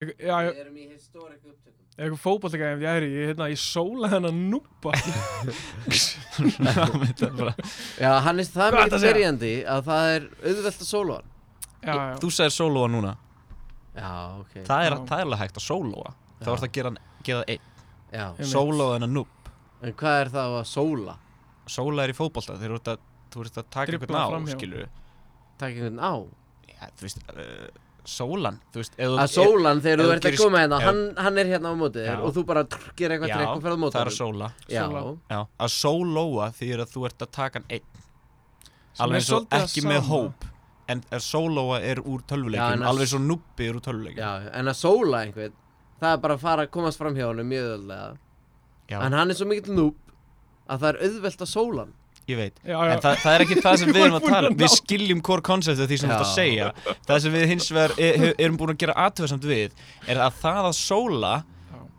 Ég- Já, Við ég- erum í historic upptökum. eitthvað fótballtækæðin, ég er í, hérna, ég sóla þennan núpa. þetta er bara, Já, hann er Hvað það ertu mikið að segja? verjandi að það er auðvelt að sóla hann. Já, já. þú sagðir sólóa núna Já, ok. það er, Já. það er alveg hægt að sólóa Já. þá ertu að gera, hann- gera það einn Já, Einmitt. sólóa hennar núp en hvað er það að sóla? sóla er í fótbolta þegar þú ert að, þú ert að taka Dribbla einhvern á framhjá. skilur Takk einhvern á. ja, þú veist uh, sólan þú veist, ef þú- Að sólan þegar þú ef þú ert að gerir- koma hérna, ef- hann, hann er hérna á mótið þér Já. og þú bara trrr, gerir eitthvað Já, trekk og ferð á mótið það er að sóla Já, Sóla. Já, að sólóa þýðir að þú ert að taka hann einn Sem er Alveg eins og svolítið það ekki með sama. hóp En að sólóa er Já, úr en tölvuleikjum að- Alveg eins og nubbi er úr já, tölvuleikjum en að sóla einhvern, það er bara að fara að komast fram hjá hann mjög öðvöldlega. Já, En hann er svo mikill núb að það er auðvelt að sóla hann. ég veit Já, já. En það, það er ekki það sem við erum Ég var að búinn tala að um. Við ná- skiljum hvort konceptið því sem þú ert að Já. segja Það sem við hins vegar e- he- erum búin að gera aðtöðsamt við Er að það að sóla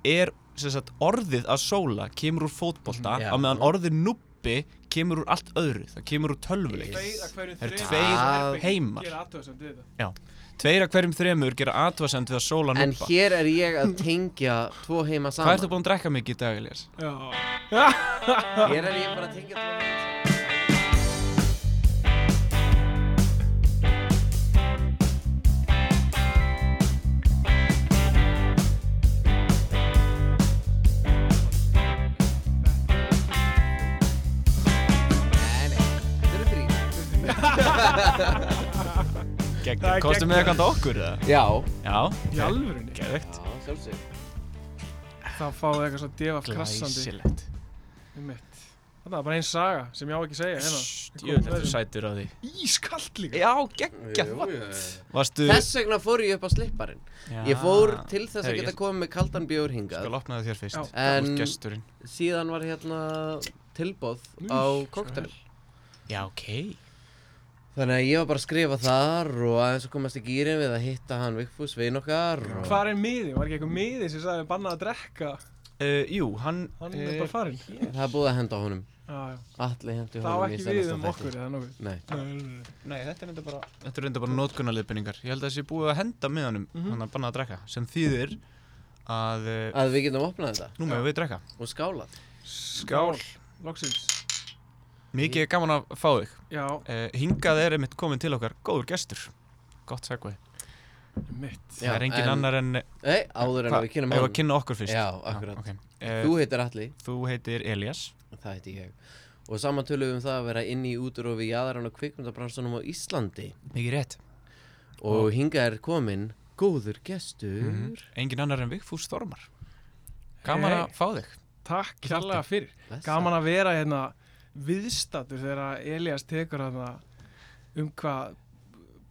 er sem sagt, orðið að sóla kemur úr fótbolta Já. á meðan orðið nubbi kemur úr allt öðru Það kemur úr tölvuleikjum Tveir af hverjum Það eru þremur tveir herbergjum heimar. gera athugasemd við þetta. Tveir af hverjum þremur gera aðtöðsamt við að sóla En nubba hér er ég að tengja tvo heima Hvað saman. ertu búin að drekka mikið í dag, Elias? Já. Hér er ég bara að tengja tvo heima saman. Nei, nei, þetta eru þrír. Það Geggjum, er kostum við geggjað. eitthvað okkur eða? Já, Já, Í alvörunni. geðvegt já, sjálfsög. Það fáið eitthvað svo devaf krassandi Glæsilegt um mitt. Það er bara einn saga sem ég á ekki að segja hérna. Jöfn, þetta er sætur á því Ískallt líka. Já, geggjað Varstu Þess vegna fór ég upp á slipparinn. Ég fór til þess að Herri, geta ég- komið með kaldan bjór hingað. Skal opna það þér Já. fyrst En- Þú ert gesturinn síðan var hérna tilbóð Nú, á svo koktel Já, ok Þannig að ég var bara að skrifa þar og aðeins að komast í gýrin við að hitta hann Vigfús veginn okkar og... Hvar er miði? Var ekki eitthvað miði sem sagði bannað að drekka? uh, Jú, hann eh, Hann er bara farinn. Það er búið að henda á honum Já, já. Allir hendi Það á honum ekki við um okkur eða nokkuð. Nei, Nei, nei, nei. Nei, þetta er reynda bara Þetta er reynda bara notkunarliðbendingar Ég held að þessi búið að henda með honum Mhm. Hann að banna að drekka Sem þýðir að uh, að við getum opnað þetta Nú meðum við drekka og skálað Skál. Loksins. Mikið er gaman að fá þig Já, uh, Hingað er einmitt komin til okkar Góður gestur Gott segvei um mitt. Það er engin annar en Nei, áður en Hva- við kynum Eigum hann að kynna okkur fyrst Já, akkurat. ok. Þú heitir Alli, Eh, Þú heitir Elias það heiti ég Og saman tölum við um það að vera inn í úturofi jaðarann og kvikmyndabransunum á Íslandi Mikið rétt Og hingað er kominn góður gestur Engin Mhm. annar en Vigfús Þormar Gaman Hey. að fá þig Takk kærlega fyrir. Blessaður. Gaman að vera hérna viðstatur þegar Elias tekur hérna um hvað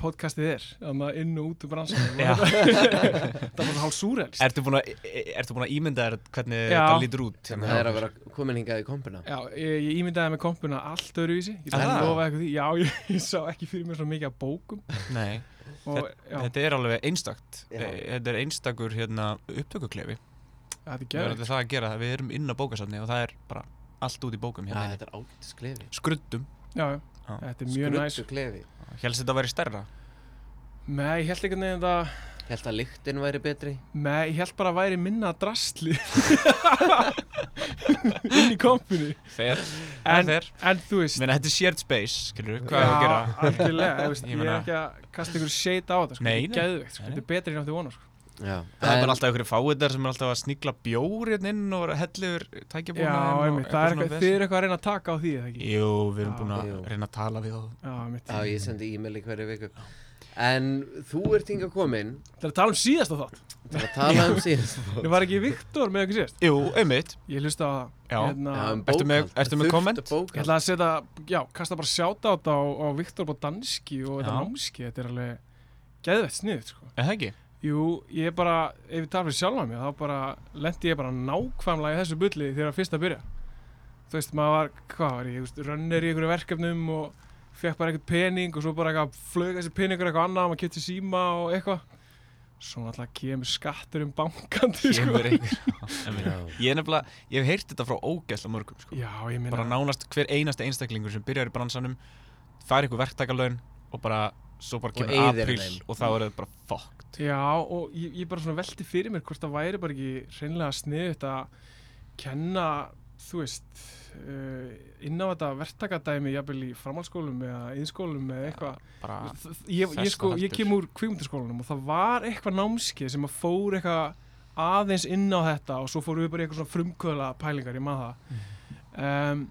podcastið er, hérna inn og út úr bransanum. Já. Það var hálf súrelst. Ertu búin að, e- ertu búin að ímynda þér hvernig Já. þetta lítur út? Það er að vera kominn hingað í kompuna Já, ég, ég ímyndaði með kompuna allt öðruvísi, ég ætla Ah. að lofa eitthvað því, já, ég, ég sá ekki fyrir mér svona mikið af bókum Nei, og já, þetta er alveg einstakt Já. Eh, Þetta er einstakur hérna, upptökuklefi þetta er Við gerð. erum það að gera það, við erum inn á bókasafni og það er bara allt út í bókum Já, hérna inni. þetta er ágætis klefi Skruddum Já, já, Já. þetta er mjög næs. Skruddu klefi Hélst þetta að vera stærra? Nei, ég held einhvern veginn að, Held að lyktin væri betri nei, ég held bara að væri minna drastli inn í kompunu. Þegar, En- en, þegar En þú veist, Menna, þetta er shared space, skilur hvað er að Já, gera? algjörlega, ég, veist, Ég ég er meina- ekki að kasta ykkur shade á þetta sko, Nei, þetta er nei. geðveikt, sko, Nei, nei. þetta er betri en ég átti vona sko. Já Það er bara alltaf ykkur fáiðar sem er alltaf að sníkla bjór hérna inn og helliður tækjabúna Já, einmitt, það er eitthvað, þið eru eitthvað að reyna að taka á því eða ekki Jú, við erum Já. búin að Jú. reyna að tala við þá Já, einmitt, Já, ég sendi e-mail í hverju viku En þú ert hingað komin það er að tala um síðasta þátt til að tala um síðast Nú var ekki Viktor með okkur síðast Jú, einmitt Ég hlusta á það, Já, hérna, Já, um Ertu með- bókhald. ertu með Þurft komment? ég bókhald. ætla að setja, já, kasta bara sjáta á þetta á, á Viktor bá danski og þetta Já. námski, þetta er alveg geðveikt sniðið sko Er það ekki? Jú, ég bara, ef ég tala fyrir sjálfa mig, þá bara lendi ég bara nákvæmlega í þessu bulli þegar fyrst að byrja. Þú veist, maður var, hvað var ég, þú veist, rönnir í einhverju verkefnum og fekk bara eitthvað pening og svo bara eitthvað flög þessi peningur eitthvað annað og maður kipti síma og eitthvað. Svo náttúrulega kemur skattur um bankandi, sko. Kemur einhver Einmitt. Já. Ég er nefnilega, ég hef heyrt þetta frá ógæsla mörgum sko. Já, ég meina, Bara nánast hver einasta einstaklingur sem byrjar í bransanum Fær ykkur verktakalögn og bara svo bara Og kemur eyðir apríl þeim. og þá er þetta bara fuck Já, og ég, ég bara svona velti fyrir mér hvort það væri bara ekki hreinlega sniðut að kenna, þú veist, uh, inn á þetta verktakadæmi jafnvel í framhaldsskólum eða innskólum eða eitthvað. bara, Þ- þ- Ég, ég, Festa sko, ég heldur. kem úr kvikmyndaskólanum og það var eitthvað námskeið sem að fór eitthvað aðeins inn á þetta og svo fórum við bara í eitthvað svona frumkvöla pælingar, ég maður það. Um,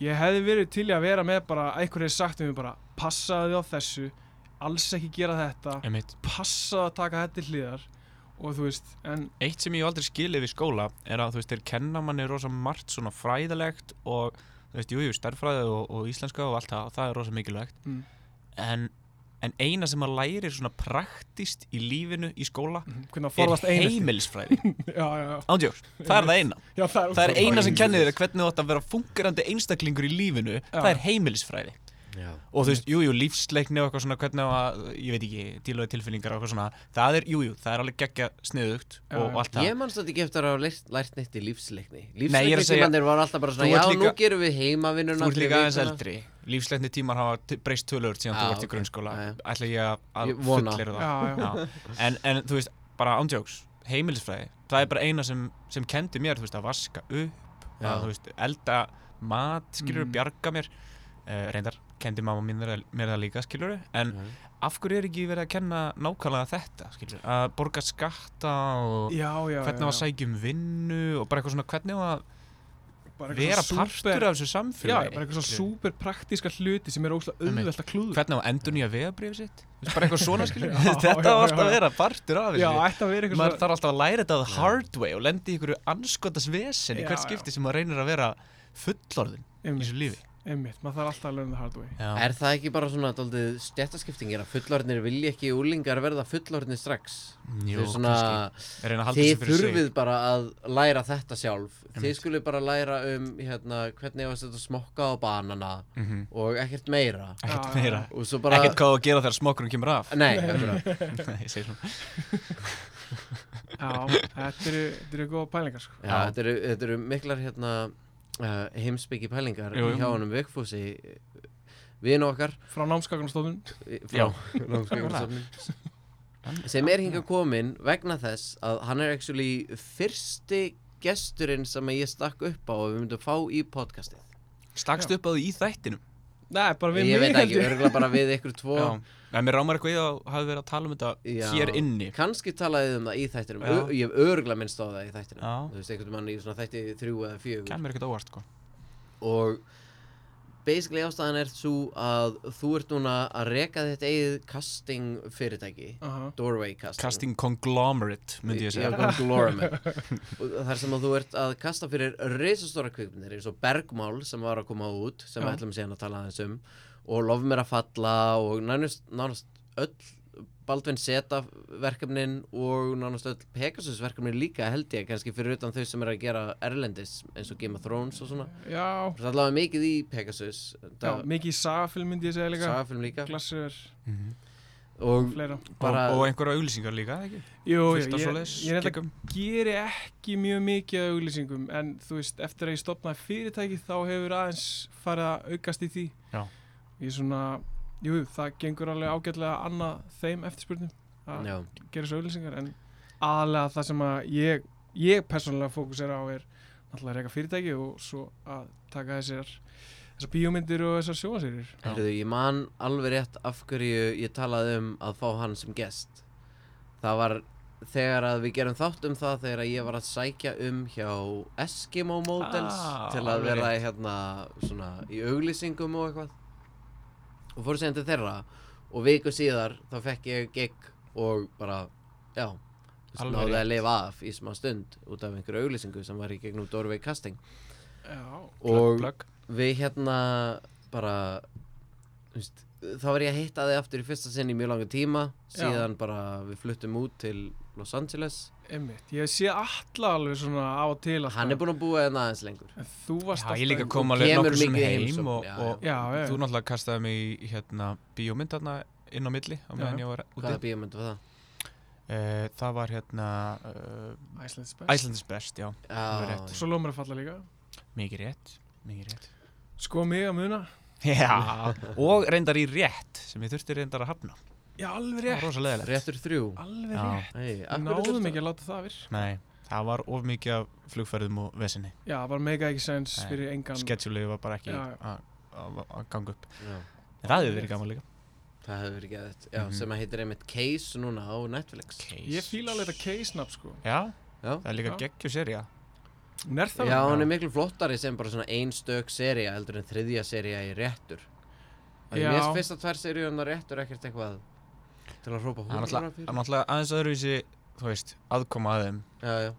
ég hefði verið til í að vera með bara, einhver hefði sagt við mig bara, passaðu þig á þessu, alls ekki gera þetta einmitt passa að taka þetta til hliðar og þú veist, en Eitt sem ég hef aldrei skilið við skóla er að þú veist, þeir kenna manni rosa margt svona fræðilegt og þú veist, jú, jú, stærðfræði og, og íslenska og allt það og það er rosa mikilvægt Mm. en, en eina sem maður lærir svona praktist í lífinu í skóla hvernig að er forðast einelti heimilisfræði já, já, já. Ándjóks, það er það eina já, það, Það er eina sem ógeðslega- kennir þér hvernig þú átt að vera fungerandi einstaklingur í lífinu það er heimilisfræði Já. og þú veist, jú, jú, lífsleikni og eitthvað svona hvernig á að, ég veit ekki, dílaði tilfinningar og eitthvað svona, það er, jú, jú, það er alveg geggja sniðugt Já, og já. allt það Ég manst þetta ekki eftir að hafa lært, lært neitt í lífsleikni Nei, ég er Lífsleikni að segja- tímandir var alltaf bara svona Þú Já, ert líka- nú gerum við heimavinnuna Þú ert fyrir líka aðeins vikuna." eldri Lífsleitni tímar hafa t- breyst tölur síðan Já, þú ert í ok. grunnskóla Já, já. Ætla ég að- að Ég vona. fullir það Já, já. En, en þú veist, bara ándjóks heimilisfræði, það er bara eina sem, sem kendi mér, þú veist, að vaska upp Já. að, þú veist, elda mat, skilur Mm. bjarga mér uh, reyndar, kendi mamma mín mér mér það líka, skilur en Já. af hverju er ekki verið að kenna nákvæmlega þetta, skilur, að borga skatta og já, já, hvernig á já, að já. sækja um vinnu og bara eitthvað svona, hvernig á að Bara eitthvað vera svona partur af þessu já, samfélagi bara eitthvað svona skilurðu. súper praktíska hluti sem er óslega Einmitt. auðvelt að klúður hvernig á endur nýja vegabrifið sitt Þú veist, bara eitthvað svona skilur Já, já, þetta á alltaf já. að vera partur af já, þessu ætti að vera maður eitthvað þarf alltaf að læra þetta the hard way og lendi í einhverju anskotas vesen í Já, já. hvert skipti sem maður reynir að vera fullorðin í einmitt, þessu lífi einmitt, maður þarf alltaf að learn the hard way já, Er það ekki bara svona daldið stjættaskiptingir að fullorðnir vilja ekki úlingar verða fullorðnir strax? Jú, Þau svona, er reyna að halda þið þessu fyrir sig þurfið bara að læra þetta sjálf. Þið Einmitt. skulle bara læra um hérna, hvernig ég var að setja smokka á banana Mhm. og ekkert meira. Já, ekkert já. meira Og svo bara... ekkert hvað á að gera þegar smokkurinn kemur af Nei, akkurat. Nei, ég segi svona. já, þetta eru, þetta eru góða pælingar sko. Já, þetta eru, þetta eru miklar hérna, uh, heimsbyggi pælingar Jú, jú. hjá honum Vigfúsi, vinu okkar frá námskakunarstofnun í- Já. frá Námsgagnastofnun sem er hingað kominn vegna þess að hann er actually fyrsti gesturinn sem ég stakk upp á og við myndum fá í podcastið stakkst upp á því í þættinum nei, bara við ég mig veit held ekki, örgulega bara við ykkur tvo já, en mér rámar eitthvað í það að hafa verið að tala um þetta Já. hér inni kannski talaðið um það í þættinum Já. Ö- ég hef örgulega minnst á það í þættinum Já. þú veist, einhvern mann í svona þætti þrjú eða fjögur kemur ekkert óvart sko og basically ástæðan er svo að þú ert núna að reka þitt eigið casting fyrirtæki Aha. doorway casting, casting conglomerate myndi ég segja Já, conglomerate. Og þar sem að þú ert að kasta fyrir risastóra kvikmyndir eins og Bergmál sem var að koma út sem Já. við ætlum síðan að tala aðeins um og Lof mér að falla og nánast, nánast öll Baldvin Zeta verkefnin og nánast öll Pegasus verkefnin líka held ég kannski fyrir utan þau sem eru að gera Erlendis eins og Game of Thrones og svona já, Það er allavega mikið í Pegasus já, mikið í sagafilm myndi ég segja líka Sagafilm líka glassur Mhm. Og fleira bara og, og einhverja auglýsingar líka ekki? Jú, jú, fullt af ég, svoleiðis ég er giggum. geri ekki mjög mikið af auglýsingum en þú veist, eftir að ég stopnaði fyrirtæki þá hefur aðeins farið að aukast í því Já. Ég svona, jú, það gengur alveg ágætlega annað þeim eftirspurnum að Já, gera þessu auglýsingar en aðalega það sem að ég, ég persónulega fókusera á er náttúrulega að reyka fyrirtæki og svo að taka þessar þessar bíómyndir og þessar sjóasýrir Já. heyrðu, ég man alveg rétt af hverju ég talaði um að fá hann sem gest Það var þegar að við gerum þátt um það þegar að ég var að sækja um hjá Eskimo Models Ah, til alveg að vera hérna svona í auglýsingum og eitthvað og fór síðan til þeirra og viku síðar þá fekk ég gig og bara, já þú veist, Alveg náði rétt. að lifa af í smá stund út af einhverju auglýsingu sem var í gegnum Dorvey Casting Já, og plögg við hérna bara þú veist, þá var ég að hitta þig aftur í fyrsta sinn í mjög langa tíma Já. síðan bara við fluttum út til Los Angeles einmitt Ég sé alla alveg svona á og til alltaf. hann er búinn að búa hérna aðeins lengur En þú varst Já, ég líka í- kom alveg kemur nokkur sem mikið í heim heimsókn, og, já, og Já, já, já. þú náttúrulega kastaði mig í hérna, bíómynd þarna inn á milli á Já, meðan já. ég var úti. hvaða bíómynd var það? Uh, það var hérna uh, Iceland's best Æslandis best, já, Alveg Já, rétt. Svo lóðum við að falla líka mikið rétt, mikið rétt. Sko mig að muna Já, og reyndar í rétt sem ég þurfti reyndar að hafna Já, alveg Það var rétt. rosa leðilegt Réttur þrjú Alveg Já. rétt. Hey, Náðum ekki að láta það virka. Nei, það var of mikið af flugferðum og vesinni Já, bara mega ekki sens Nei. fyrir engan. Schedule var bara ekki Já, já. að- að að ganga upp Já, En Það hefði verið gaman líka Það hefur verið gæðið Já, Mhm. sem að heitir einmitt Case núna á Netflix Ég fíla alveg þetta K-snap, sko. Já, Já það er líka geggjur serja Hún er það. Já, Já. hún er miklu flottari sem bara svona einstök seria heldur en þriðja seria í réttur Það Já. er mest fyrsta tvær seríuna réttur ekkert eitthvað til að hrópa Það er húra náttúrulega fyrir náttúrulega aðeins öðruvísi, þú veist, aðkoma að þeim Já, já,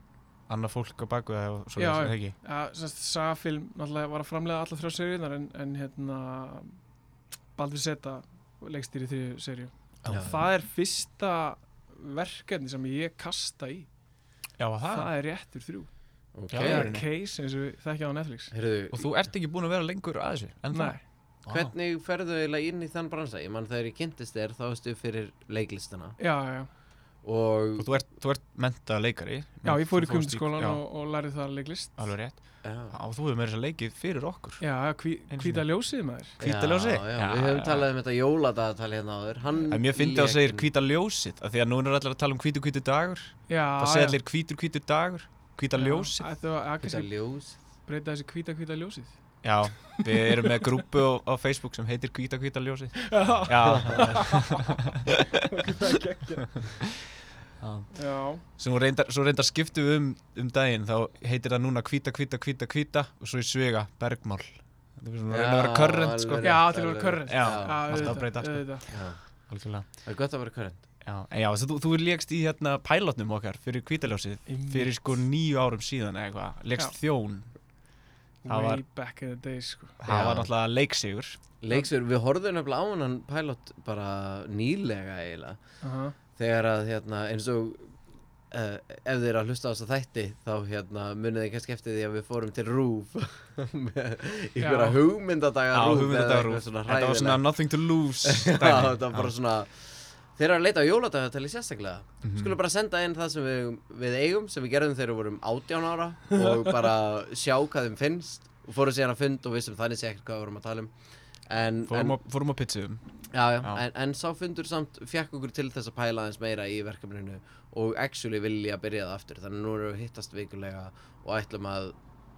Annað fólk á baku það og svo Já, veist já. það ekki Já, semst, Safilm náttúrulega var að framlega alla þrjá seríunar en, en hérna Baldvin Seta leikstýri þrjú seríu. Já. Það er fyrsta verkefni sem ég kasta í. Já, það Það er réttur þrjú. ok Já, Það já. er case eins og við þekkja á Netflix. Heyrðu, Og þú ert ekki búin að vera lengur að þessu en Nei, Hvern? hvernig ferðu eiginlega inn í þann bransa? Ég mann þegar ég kynntist þér þá veistu fyrir leiklistana já, já. og Og þú ert, þú ert menta leikari Já, ég fór í Þú fórst kundskólan já, og, og lærði þar leiklist. Alveg rétt já, Já, þú hefur meira þess að leikið fyrir okkur Já, hví, Einu sinni. hvíta ljósið maður. Hvíta ljósið? Já, já, Já, við höfum já. talað um þetta jóladagatal hérna áður Hann En mér fyndi að það segir lék- hvíta ljósið af Því að núna er allir að tala um hvítu hvítu dagur Já, Það segir allir hvítur hvítur dagur Hvíta ljósið Það var að Hvíta kannski ljós breyta þessi hvíta hvíta ljósið. Já, við erum með grúpu á, á Facebook sem heitir hvíta hvíta ljósið Já, Já, það er geggja. Já. Já, svo reyndar, svo reyndar skiptum við um, um daginn Þá heitir það núna hvíta hvíta hvíta hvíta Og svo í svega bergmál Það er svona að reyna að vera Já, körrent sko alveg já rétt, til að alveg vera körrent. rétt. Já, Já, alltaf auðvitað, að breyta, sko. auðvitað. já Algjörlega Það er gott að vera körrent Já, en já, þessi, þú, þú lékst í hérna pælotnum okkar fyrir kvítaljósið fyrir sko níu árum síðan eða eitthvað, lékst þjón það var- Way back in the days, sko. það Já. var náttúrulega leiksigur Leiksur, við horfðum nefnilega á hann pilot bara nýlega eiginlega Aha. þegar að hérna eins og uh, ef þið eru að hlusta á þess að þætti þá hérna munið þið kannski eftir því að við fórum til RÚV með einhverja Já. hugmyndadaga á RÚV hugmyndadagur svona þetta var svona hræðilega nothing to lose Já, dæmi. þetta var bara svona Þeir eru að leita á jóladagatalið sérstaklega Mhm. Skulum bara senda inn það sem við, við eigum sem við gerðum þegar við vorum 18 ára og bara sjá hvað þeim finnst og fórum síðan að fund og vissum þannig sé ekkert hvað við vorum að tala um En, fórum, en, á, fórum á pizzaðum já, já, já. En, en sá fundur samt fekk okkur til þess að pæla aðeins meira í verkefninu og actually vilja byrja það aftur þannig að nú erum við að hittast vikulega og ætlum að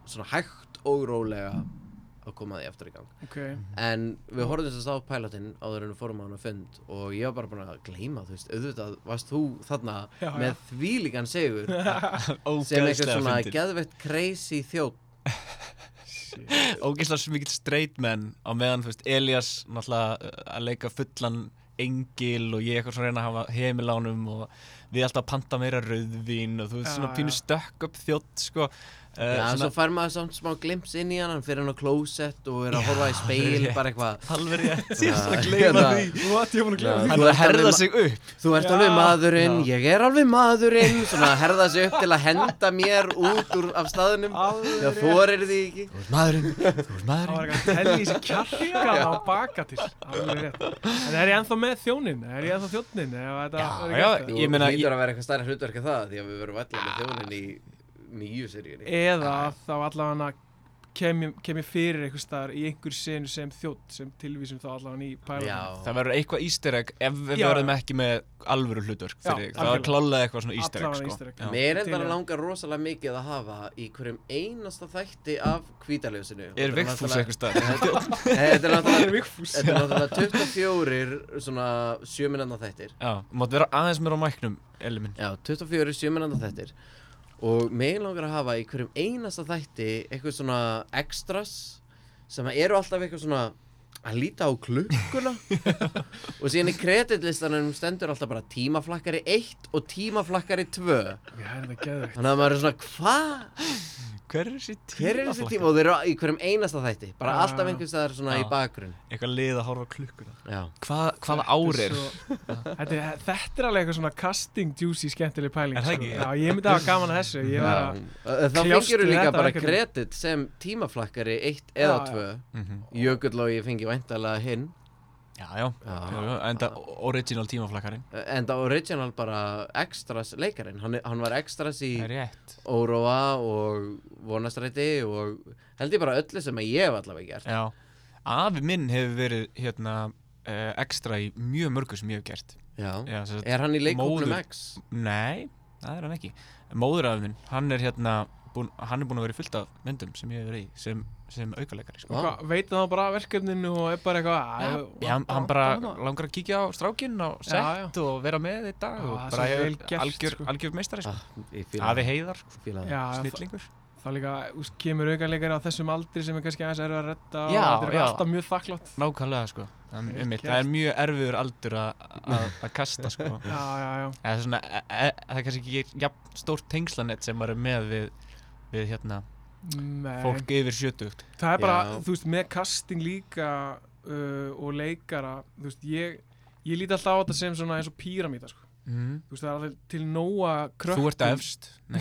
svona hægt og rólega að koma því aftur í gang Ok, En við horfðum þess að á pælotinn áður en við fórum á hann að fund og ég var bara búin að gleyma, þú veist, auðvitað varst þú þarna Já, já. með þvílíkan sigur sem eitthvað svona ógeðslega geðveitt crazy þjótt. ógeðslega mikið straight man á meðan, þú veist, Elias náttúrulega uh, að leika fullan engil og ég eitthvað svona að reyna að hafa heimilánum og við alltaf að panta meira rauðvín og þú veist, Já, svona pínu já. stökk upp þjótt, sko Já, uh, svo fær maður samt smá glimps inn í hann, hann fyrir hann á klósett og er að horfa í speil, rétt. bara eitthvað. Alveg rétt, ég er svona að Já, gleyma hérna. því what, ég var að Já. glemja því. Hann Þú er að ert herða alveg sig upp Þú ert Já. alveg maðurinn, Já. ég er alveg maðurinn, svona að herða sig upp til að henda mér út úr af staðunum. Alveg Þegar fórir því ekki. Þú ert maðurinn, þú ert Það var maðurinn eitthvað að telja í sig kjarkan á baka til. Alveg rétt. En er ég ennþá með þjónin? Er ég ennþá þjónin? Ef þetta Já, er já, ekki Þú eftir? Ég meina, hlýtur ég- að vera eitthvað stærra hlutverk en það, því að við verum allir með þjónin í nýju seríunni. Eða þá allavega kem ég, kem ég fyrir einhver staðar í einhver senu sem þjótt sem tilvísum þá allavega í pælunum. Já, Það verður eitthvað easter egg ef ef við Já. verðum ekki með alvöru hlutverk Já, fyrir þig Það var algjörlega. klálega eitthvað svona easter egg Allavega sko easter egg. Já. mér Til endar í- langar rosalega mikið að hafa í hverjum einasta þætti af hvítaljósinu. Og Er þetta Vigfús náttúrulega- eitthvað stað? Þetta er Það er náttúrulega, vikfús. þetta er náttúrulega 24 svona 7 minútna þættir. Já, mátt vera aðeins mér á mæknum, Elli minn Já, 24 7 minútna þættir. Og mig langar að hafa í hverjum einasta þætti eitthvað svona extras sem eru alltaf eitthvað svona að líta á klukkuna og síðan í kreditlistanum stendur alltaf bara tímaflakkari 1 og tímaflakkari 2 Já, er þetta geðvegt. þannig að maður er svona hvað Hver er þessi tíma? Hver er þessi tíma? Og þeir eru í hverjum einasta þætti Bara Ah. Já. alltaf einhvers staðar svona Já. í bakgrunn Eitthvað lið að horfa á klukkuna Já Hvað, Hvaða ár er? Svo- Þetta er, þetta er alveg eitthvað svona casting juicy skemmtileg pæling Er það sko. ekki? Já, ég myndi hafa gaman að þessu Ég var að Það Kljást fengir þú við líka þetta bara verkefni. kredit sem tímaflakkari 1 eða Já, 2 Mhm. Jökull og ég fengi væntalega hinn Já, já, Já. Jú, jú, enda original tímaflakkarinn En það original bara extras leikarinn Hann, er- hann var extras í Rétt Óróa og Vonastræti og held ég bara öllu sem að ég hef allavega gert Já, afi minn hefur verið hérna uh, ekstra í mjög mörgu sem ég hef gert já. Já, sem sagt, Er hann í leikhóknum Móður. X? nei, það er hann ekki móðurafi minn, hann er hérna búin, hann er búin að vera í fullt af myndum sem ég hef verið í sem, sem aukaleikari sko. Vá. Hva, veit hann bara af verkefninu og er bara eitthvað Já, að- hann, hann bara langar að kíkja á strákinn á sett Já, og vera með í dag Já, og það er bara svo vel hefur gert, algjör, sko. algjör meistari sko. Ah, ég fíla afi það. heiðar, Fíla það. Já, það, snillingur það líka, úst, kemur aukarleikari á þessum aldri sem er kannski aðeins erfið að redda Já, og þetta er já. alltaf mjög þakklátt Nákvæmlega sko Það Vel er einmitt, gert. það er mjög erfiður aldur að- að að kasta sko Já, já, já, Það er svona, e, e, það er kannski ekki jafn stórt tengslanett sem maður er með við, við hérna, Nei. fólk yfir sjötugt Það er bara, Já. þú veist, með casting líka uh, og leikara, þú veist, ég, ég líti alltaf á þetta sem svona eins og píramíta, sko. mm. Þú veist, það er alltaf til nóa krökkum. Þú ert efst Nei,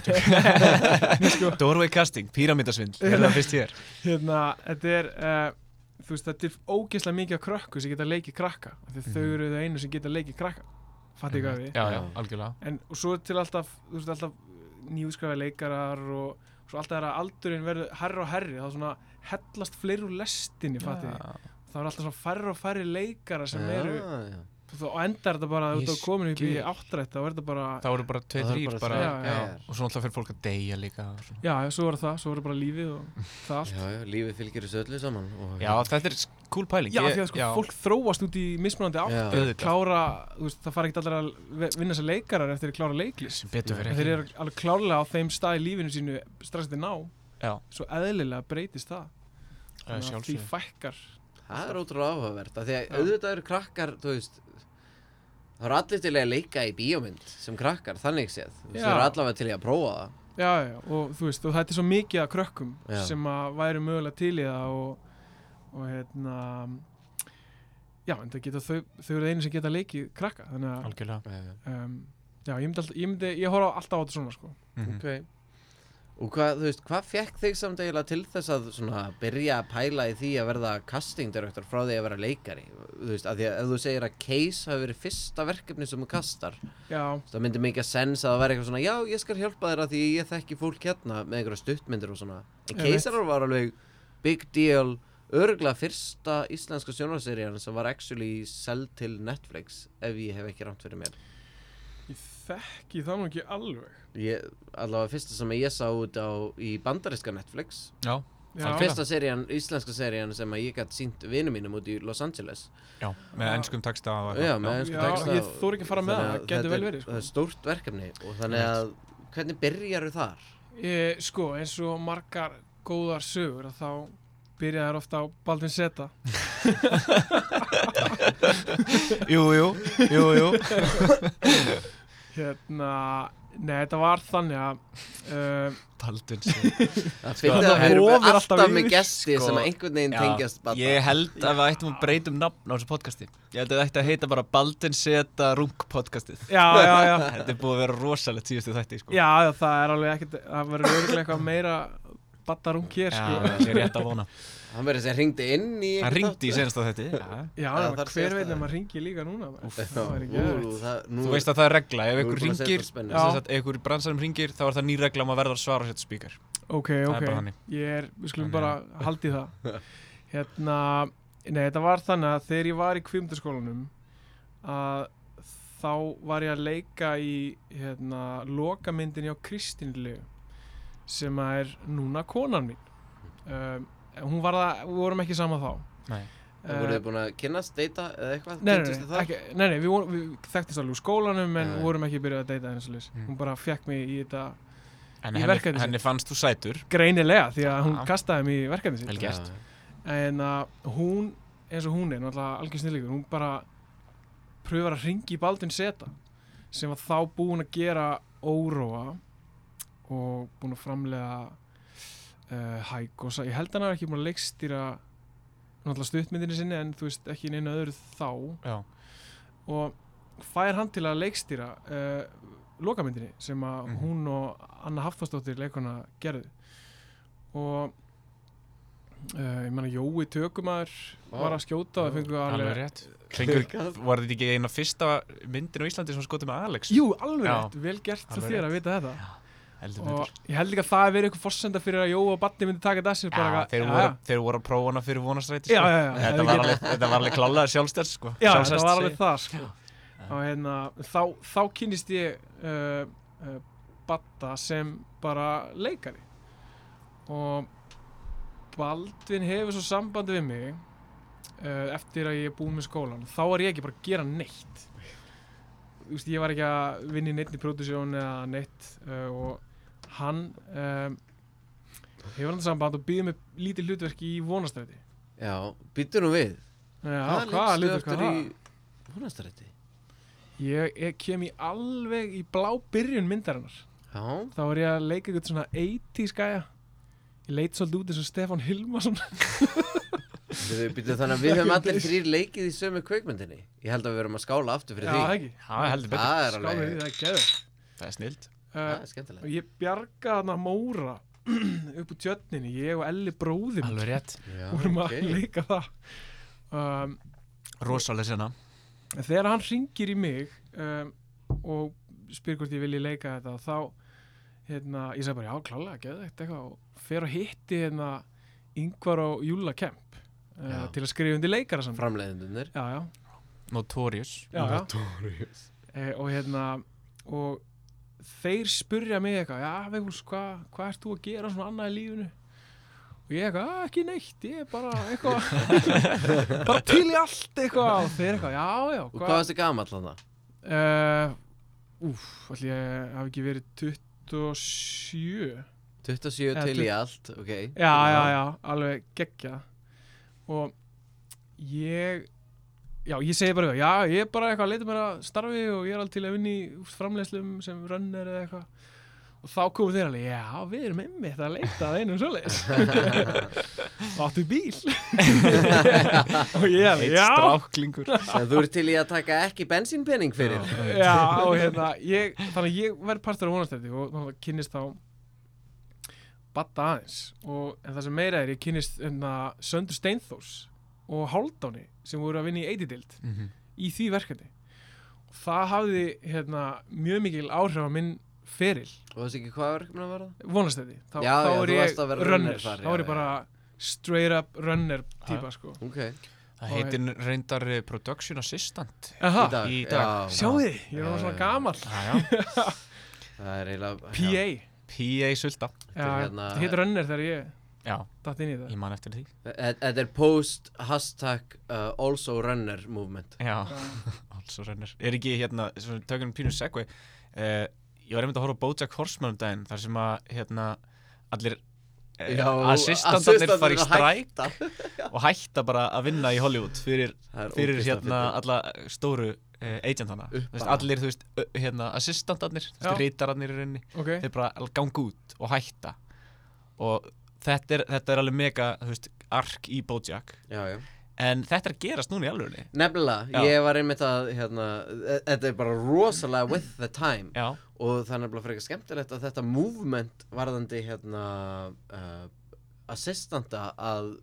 sko. Doorway casting, píramítasvindl, er það fyrst hér Hérna, þetta er, uh, þú veist, þetta er ógeðslega mikið af krökku sem geta leikið krakka. af Því að þau Mhm. eru þau einu sem geta leikið krakka. Fattu ekki að við? Já, já, Já. algjörlega En, og svo er til alltaf, þú veist, alltaf nýjúskræfi leikarar og svo alltaf er að aldurinn verður herri og herri. Það er svona hellast fleiri úr lestinni, fattu ekki? Já. Það er alltaf svona færri og færri leikara sem eru Já, já. Þú- og endar þetta bara Ég út á kominu upp í skil. áttrætt þá er þetta bara, Það voru bara tveir, Það voru þrýr bara bara, þrír, já, já. Og svo náttúrulega fyrir fólk að deyja líka og svona. já, já, svo er það svo er bara lífið og það allt já, já, lífið fylgir þessu öllu saman og, Já, þetta er s- cool pæling já, Ég- því að sko já, fólk þróast út í mismunandi átt já, auðvitað. klára, þú veist, það fara ekkert allir að ve- vinna sér leikarar eftir að klára leiklist Sem betur En fyrir þeir eru alveg klárlega á þeim stað í lífinu sínu strax þetta ná, Já, svo eðlilega breytist það að Þannig að því sjálfsögðu fækkar það er ótrúlega áhugavert af því að Já. auðvitað eru krakkar þú veist það eru allir til í að leika í bíómynd sem krakkar, þannig séð Þú veist, Já. það eru allavega til í að prófa það já, já, og þú veist, og þetta er svo mikið að krökkum Já. sem að væri mögulega til í það og, og hérna já, en það geta þau, þau eru einu sem geta leikið krakka, þannig að Algjörlega um, já, ég myndi, alltaf, ég myndi, ég horfa alltaf á þetta svona sko. Mhm. ok og hvað, þú veist, hvað fekk þig samt eiginlega til þess að svona byrja að pæla í því að verða castingdirektor frá því að vera leikari þú veist, af því að ef þú segir að case hafi verið fyrsta verkefni sem þú kastar já, það myndi mikið sens að það væri eitthvað svona já, ég skal hjálpa þér að því ég þekki fólk hérna með einhverja stuttmyndir og svona en Ég veit. Keisarar var alveg big deal örgulega fyrsta íslenska sjónarserían sem var actually seld til Netflix ef ég hef ekki rámt fyrir mér ég þekki það nú ekki alveg ég, allavega fyrsta sem ég sá út á í bandariska Netflix já, Já, Algjörlega. fyrsta serían, íslenska serían sem að ég gætt sínt vinum mínum út í Los Angeles já, með ennskum texta og eitthvað. já, með ensku Já, texta ég þori ekki að fara með Þannig það, að það gæti þetta vel er- verið, sko. það er stórt verkefni og þannig að hvernig byrjaru þar? ég, sko, eins og margar góðar sögur að þá byrja þær ofta á Baldvin Seta Jú, jú, jú, jú hérna, nei, þetta var þannig að uh, Baldun Það finnir það að við erum vofir alltaf, alltaf með yfir, gesti sko. sem að einhvern veginn tengjast badna. Ég held að við ættum að breytum nafn á þessu podcasti Ég held að þetta ætti að heita bara Baldun Seta Rung podcastið já, já, já Þetta er búið að vera rosalegt síðustu þætti sko. já, já, það er alveg ekkert það verður örugglega eitthvað meira battarung hér, sko ég er rétt að vona Hann verið sem hringdi inn í Hann ringdi í senasta þætti já. já, Já, já þar hver veit sést það. nema ringi líka núna maður. það er ekki eðlilegt. Þú Þú veist að það er regla, ef Nú er einhver búin að setja ringir spennu. sem sagt, ef einhver í bransanum ringir, þá er það ný regla um að verða að svara og setja spíkar Ok, er ok, bara þannig. ég er, við skulum Þannig bara haldi það Hérna, nei, þetta var þannig að þegar ég var í kvimdaskólanum að þá var ég að leika í hérna, lokamyndinni á Kristinlegu sem að er núna konan mín um, hún var það, við vorum ekki saman þá Nei. Eh, Voruð þið búin að kynnast, deyta eða eitthvað? Nei, nei, Kynntust þið nei, þar? ekki, nei, nei við, vorum, við þekktist alveg úr skólanum en Já, já. vorum ekki byrjað að deyta henni svolítið Mm. hún bara fekk mig í þetta En Í henni, verkefni sitt. henni fannst þú sætur greinilega því að hún Já. kastaði mig í verkefni sitt Vel gert. en að hún eins og hún er náttúrulega algjör snillíkur hún bara pröfar að ringi í Baldin Seta sem var þá búin að gera óróa og búin að framlega uh, hæk og sa, ég held hann að ekki búin að leikstýra náttúrulega stuttmyndinni sinni en þú veist ekki neina öðru þá Já, og fær hann til að leikstýra uh, lokamyndinni sem að Mhm. hún og Anna Hafþórsdóttir leikona gerðu og uh, ég menna Jói Tökumæður Vá. var að skjóta og það fengur alveg alveg rétt Kringur, var þetta ekki eina fyrsta myndin á Íslandi sem skotið með Alex? Jú, alveg Já. rétt, vel gert hjá Alveg þér að vita þetta heldur og betur ég held líka að það að vera eitthvað forsenda fyrir að Jóa og Batni myndi taka þetta að sér bara Já, eitthvað- þeir, já, voru, þeir voru að prófa hana fyrir vonastræti Já, já, já, já, þetta, við var getum- alveg, þetta var alveg klálega sjálfstært sko. Já, Sjálfstætt, það var alveg segi- það sko. og hérna, þá, þá kynist ég uh, uh, Batta sem bara leikari og Baldvin hefur svo sambandi við mig uh, eftir að ég er búið með skólan þá er ég ekki bara að gera neitt Þú veist, ég var ekki að vinna í neitt í pródusjón eða neitt uh, og hann um, hefur hann samband og býður mig lítið hlutverk í vonastræti Já, býttu nú við Já, Hvað hvaða leikstu hlutverk var eftir það? í vonastræti? Ég, ég kem í alveg í blá byrjun myndarinnar. Já, Þá var ég að leika eitthvað svona 80s gæja. Ég leit svolítið út eins og Stefan Hilmarsson. við býttu þannig að við höfum allir þrýr leikið í sömu kveikmyndinni Ég held að við verum að skála aftur fyrir Já, það því ekki. Já, heldur betur, Það er Skáðið því alveg, það er geður. það er snild það Uh, er og skemmtilegt ég bjarga hana Móra upp úr tjötninni. Ég og Elli bróði minn alveg rétt, Já, vorum að ok. leika það. Um, rosalega sena En þegar hann ringir í mig um, og spyr hvort ég vilji leika þetta þá, hérna, ég sagði bara já, klálega, geðu eitthvað og fer og hitti hérna yngvar og Júla Kemp uh, Já. til að skrifa undir leikara saman. Framleiðendunir Já, já, notorious já, já. Eh, og hérna, og þeir spurja mig eitthvað, já, Vigfús, hvað hva ert þú að gera svona annað í lífinu? Og ég eitthvað, "Ah, ekki neitt, ég er bara eitthvað, bara til í allt eitthvað. Og þeir eitthvað, já, já, Og hvað varstu gamall hann það? Uh, úf, allir ég hafi ekki verið 27 Já, 27 Eða til tut- í allt, ok já, já, alveg geggja Og ég Já, ég segi bara við það, Já, ég er bara eitthvað að leita mér að starfi og ég er alveg til að vinna í úst, framleiðslum sem runner eða eitthvað Og þá komu þeir alveg, já, við erum einmitt að leita að einum svoleiðis Og áttu bíl Og ég alveg, eitt já, stráklingur Sem þú ert til í að taka ekki bensínpenning fyrir Já, og hérna, ég, þannig að ég verð partur á vonastætti og þannig að kynnist þá Batta aðeins og en það sem meira er, ég kynnist hérna, Söndur Steinþórs og Háldáni sem voru að vinna í Eitidild Mhm. í því verkefni og það hafði hérna, mjög mikil áhrif á minn feril Og veist ekki hvað verkefni að vera? vonastætti, þá, Já, þá já, er þú ég varst að vera runner þar, þá já, er ég bara straight up runner típa sko Ok, það heitir reyndar eh, production assistant Aha, í dag, í dag. Já, sjáðu þið, ég er Já, orðinn svona já, já. gamall já, já. Það er eiginlega PA, PA sulta já, hérna- þetta heitir runner þegar ég já, datt inn í það ég man eftir því Þe- E- Þetta er post hashtag uh, also runner movement Já, alls og rennir Er ekki hérna, svona, tökum pínu segway uh, Ég var einmitt að horfa á Bojack Horseman um daginn Þar sem að, hérna, allir eh, Já, Assistantarnir assistantarnir fari í að stræk Og hætta bara að vinna í Hollywood Fyrir, Það er fyrir ógeðslega hérna fyndið. alla stóru uh, agentana Þú Upp veist, bara. Allir, þú veist, ö- hérna, assistantarnir Þú Já. veist, rítararnir í rauninni Ok, Þeir bara al- ganga út og hætta Og þetta er, þetta er alveg mega, þú veist, ark í Bojack Já, já En þetta er að gerast núna í alvörunni Nefnilega, Já. ég var einmitt að hérna, e- þetta er bara rosalega with the time Já, og það er nefnilega frekar skemmtilegt að þetta movement varðandi hérna uh, assistanta að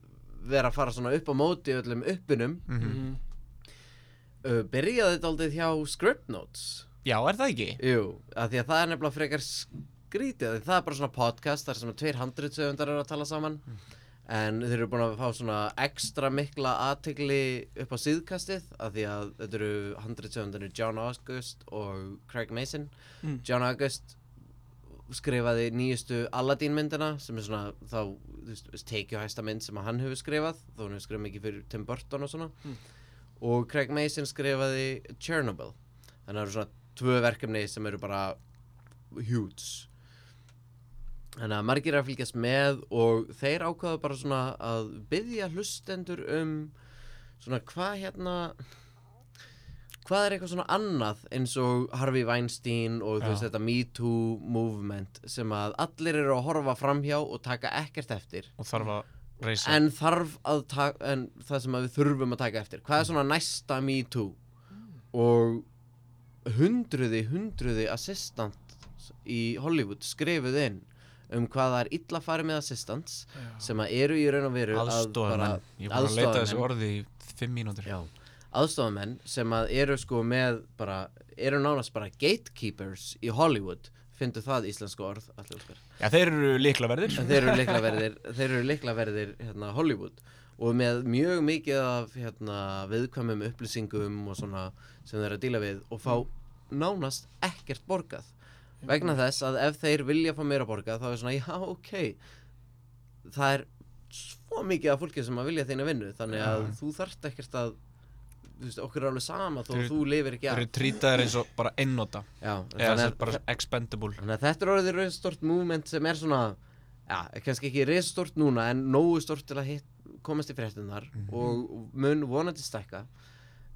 vera að fara svona upp á móti öllum uppinum mhm. Mhm. uh, byrjaði þetta aldrei hjá script notes Já, er það ekki? Jú, að því að það er nefnilega frekar skrítið, af því það er bara svona podcast þar sem að tveir handritsöfundar eru að tala saman en þeir eru búin að fá svona ekstra mikla aðtegli upp á síðkastið af því að þetta eru handritsöfundarnir John August og Craig Mason Mm. John August skrifaði nýjustu Aladdin myndina sem er svona þá þú veist, teikjuhæsta mynd sem að hann hefur skrifað þó hann hefur skrifað mikið fyrir Tim Burton og svona Mm. og Craig Mason skrifaði Chernobyl þannig að það eru svona tvö verkefni sem eru bara huge þannig að margir eru að fylgjast með og þeir ákvaða bara svona að byggja hlustendur um svona hvað hérna hvað er eitthvað svona annað eins og Harvey Weinstein og þú Já. veist þetta Me Too movement sem að allir eru að horfa framhjá og taka ekkert eftir og þarf að reysa en þarf að taka en það sem að við þurfum að taka eftir hvað er svona næsta Me Too og hundruði hundruði assistant í Hollywood skrifuð inn um hvað það er illa farið með assistants sem að eru í raun og veru að bara- aðstofamenn ég var að leita að þessu aðstoðarmenn. orði í fimm mínútur Já, aðstofamenn sem að eru sko með bara, eru nánast bara gatekeepers í Hollywood fyndu það íslensku orð allir okkar Já, þeir eru líklaverðir en þeir eru liklaverðir, þeir eru liklaverðir hérna, Hollywood og með mjög mikið af hérna, viðkvæmum upplýsingum og svona sem þeir eru að díla við og fá nánast ekkert borgað vegna þess að ef þeir vilja fá meira borgað þá er svona, já, ok það er svo mikið af fólki sem að vilja þeina vinnu þannig að Já. þú þarft ekkert að þú veist, okkur er alveg sama þó Þeir- þú lifir ekki Þeir af eru trýtaðir eins og bara einnota já, Eða þannig þess að- að bara expendable Þannig að þetta er orðið raun stort movement sem er svona, já, kannski ekki reis stort núna en nógu stort til að hitt, komast í fréttinnar Mhm. og mun vonandi stækka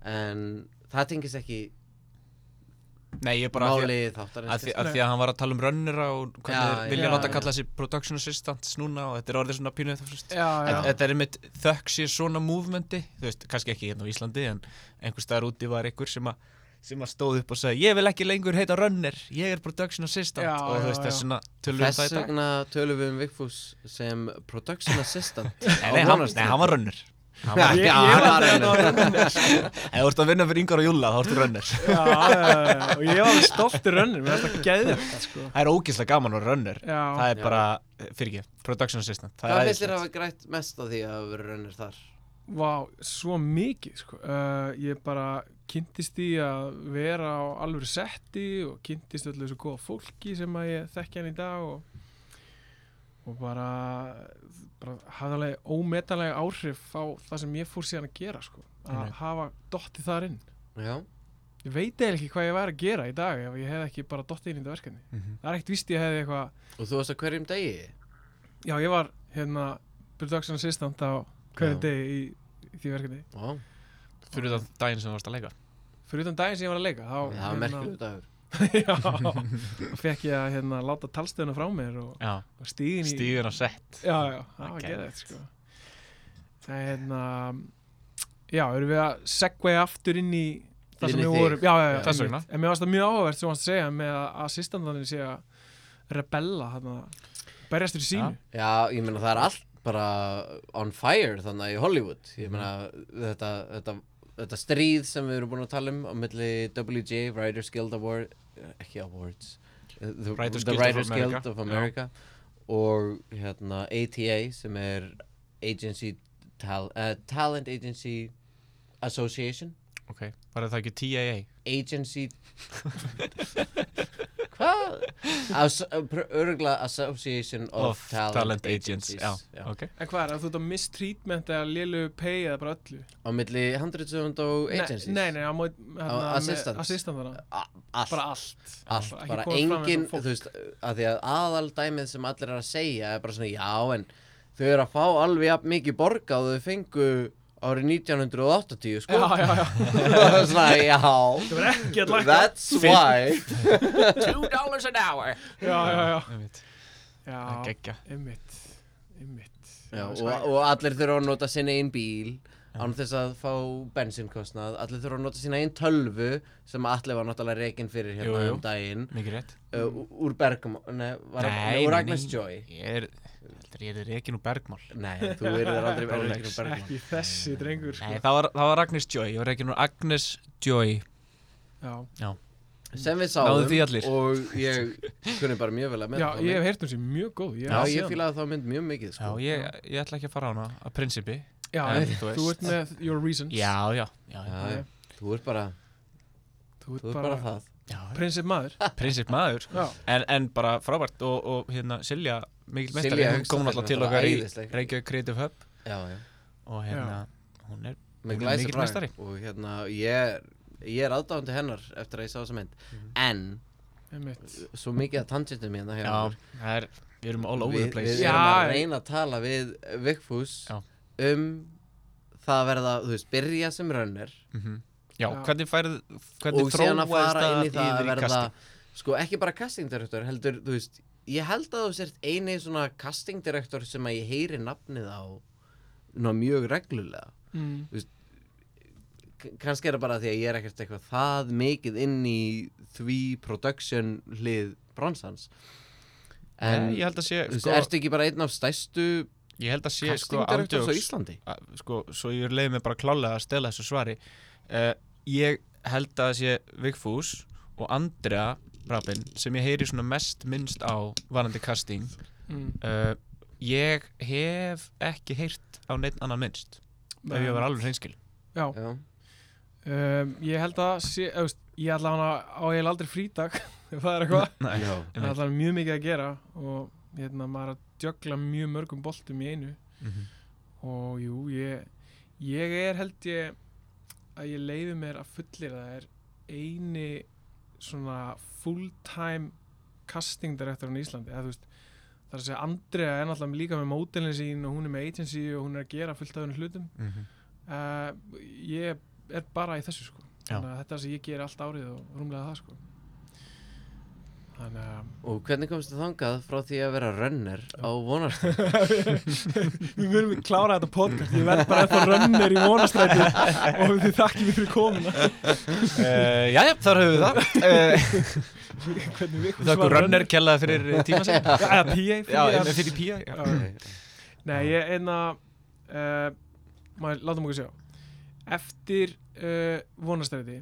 en það tengis ekki Nei, ég er bara að því, máli þáttar að, því, að því að hann var að tala um rönnera og hvernig Já, þeir vilja já, láta já. kalla þessi production assistants núna og þetta er orðið svona pínuð það fyrst já, já. Þetta er einmitt þökk sér svona movementi þú veist, kannski ekki hérna á Íslandi en einhver staðar úti var einhver sem að sem að stóð upp og sagði, ég vil ekki lengur heita runner, ég er production assistant Já, og þú veist, já, já. Þess þess vegna tölum við um það í dag vegna tölum við um Vigfús sem production assistant Nei, nei, hann, nei, hann var runner Hann var- Ég- Já, ég var hann var þegar það raunar. Ef þú ert að vinna fyrir yngar og júla, þá ertu runner Já, já, já, já. og ég var stoltur rönnir, mér finnst það geðvegt sko. Það er ógeðslega gaman að vera runner Já, Það er Já. bara, fyrir ekki, production assistant Það Hvað er finnst þér að hafa æðislegt grætt mest á því að vera raunir þar? vá, svo mikið sko. uh, ég bara kynntist í að vera á alvöru setti og kynntist öllu þessu góða fólki sem að ég þekki hann í dag og, og bara, bara hafði alveg ómetalega áhrif á það sem ég fór síðan að gera sko. að Einmitt. hafa dottið þar inn Já, ég veit eiginlega ekki hvað ég væri að gera í dag ef ég hef ekki bara dottið inn í þetta verkefni Mhm. það er ekkert víst ég hefði eitthvað og þú varst á hverjum degi? já, ég var hérna production assistant á hverju Já. degi í, í því verkefni Ó, Fyrir þann daginn sem þú varst að leika fyrir utan daginn sem ég var að leika þá það var merkilegu dagur já, fekk ég að hérna, láta talstöðuna frá mér og, Já, og stíðin í stíðin á sett já, já, það var Það er geðið sko. það er hérna já, erum við að segvei aftur inn í það sem Inn í við þig. vorum já, já, já, Þess einmitt. vegna. en mér varst það mjög áhugavert sem þú varst að segja með að assistantaninn sé að rebella hérna, berjast fyrir sínu Já, ég meina það er allt bara on fire þannig í Hollywood Mhm. ég meina þetta, þetta, þetta stríð sem við erum búin að tala um á milli WGA, Writers Guild Award eh, ekki Awards eh, The Writers the Guild of Writers America. Guild of Já. America og hérna ATA sem er Agency tal uh, Talent Agency Association Ok, var það ekki TAA? Agency Hvað? As- uh, pr- Örugglega Association of, Of Talent, Talent Agents, Agencies já, ok En hvað er, að þú ert á mistreatment eða lélu pay eða bara öllu? Á milli 100 og agencies? Nei, nei, á mót, Á assistants? assistantana. A- Allt, Bara allt. allt, bara ekki bara komið fram við engin, fólk. þú veist, að því að aðaldæmið sem allir er að segja er bara svona, já, en þau eru að fá alveg jafn mikið borga og þau fengu árið 1980, sko. Já, já, já. svona, Það já, verður ekki að lækka. that's why. Two dollars an hour Já, já, já. Það Já, geggja ymmit, ymmit. Já, og, og allir þurfa að nota sinna einn bíl án þess að fá bensinkostnað, allir þurfa að nota sína einn tölvu sem allir var náttúrulega reikinn fyrir hérna Jú, jú. um daginn Mikið rétt uh, ú- úr Bergum, nei, var, nei, úr Agnes Joy Ég er, heldur ég er ekki nú bergmál Nei, þú verður aldrei Bara verður ekki úr Bergman Ekki þessi drengur, Nei, sko. það var, það var Agnes Joy, ég var ekki nú Agnes Joy Já, sem við Náðu því allir. sáum og ég kunni bara mjög vel að já mennta ég hef heyrt um sér mjög góð. Já, hef séð ég hana. fílaði þá mynd mjög mikið Já, sko. ég, ég ætla ekki að fara á hana, að prinsipi Já, En en þú þú veist. ert með your reasons. Já, já, já, Já, já, já. Þú ert bara, Þú þú ert ert bara bara það já. prinsip maður. prinsip maður Já, en, en bara frábært og, og hérna Silja mikil mestari, Silja hún kom Hauksdóttir alltaf til náttúrulega okkar í æðisleg. Reykjavík Creative Hub Já, já og hérna, hún er með Hún er mikill glæsibraga meistari. og hérna ég er, ég er aðdáðandi hennar eftir að ég sá þessa mynd Mhm. en ymmit. svo mikið að tangentum hérna já, hérna það er, við erum all over við, the place við Já, erum að ég- reyna að tala við Vigfús Já. um það að verða, þú veist, byrja sem rönnir Mhm. já, Já. hvernig færið hvernig og síðan að þróaðist fara inn í það yfir að verða casting? sko ekki bara castingdirektor heldur, þú veist, ég held að þú sért eini svona castingdirektor sem að ég heyri nafnið á ná, mjög reglulega Mm. K- kannski er það bara því að ég er ekkert eitthvað það mikið inn í því production hlið bransans en Nei, ég held að sé, þú veist, sko, ertu ekki bara einn af stæstu ég held að sé sko, castingdirektors á ándjóks Íslandi að- sko, svo ég leiði mig bara klálega að Eh, stela þessu svari uh, ég held að það sé Vigfús og Andrea rappin sem ég heyri svona mest minnst á varandi casting mm. uh, ég hef ekki heyrt á neitt annan minnst ef ég var alveg hreinskil Já, Já. um, ég held að sé, eufst, ég ætla hana á eiginlega aldrei frítak ef það er eitthvað Nei, Já. Það er alltaf mjög mikið að gera og hérna, maður er að djögla mjög mörgum boltum í einu Mhm. og jú, ég, ég er held ég að ég leiði mér að fullir það er eini svona full-time casting directorinn í Íslandi eða, þú veist, það er að segja Andrea er náttúrulega líka með mótelin sín og hún er með agency og hún er að gera fullt af henni hlutum Mhm. uh, ég er bara í þessu sko Já. þannig að þetta er það sem ég ger allt árið og rúmlega það sko þannig að Og hvernig komst þið þangað frá því að vera runner á vonarstu? við verðum að klára þetta podcast ég verð bara eftir rönnir í vonastræti og þið þakkið mér fyrir komuna uh, Jæja, þar höfum við það uh, hvernig við Það er rönner kellaði fyrir eh, tíma sem já, eða PA Já, fyrir- en fyrir pía já. Já. nei, ég einna uh, maður, látum okkur sjá eftir uh, vonastræti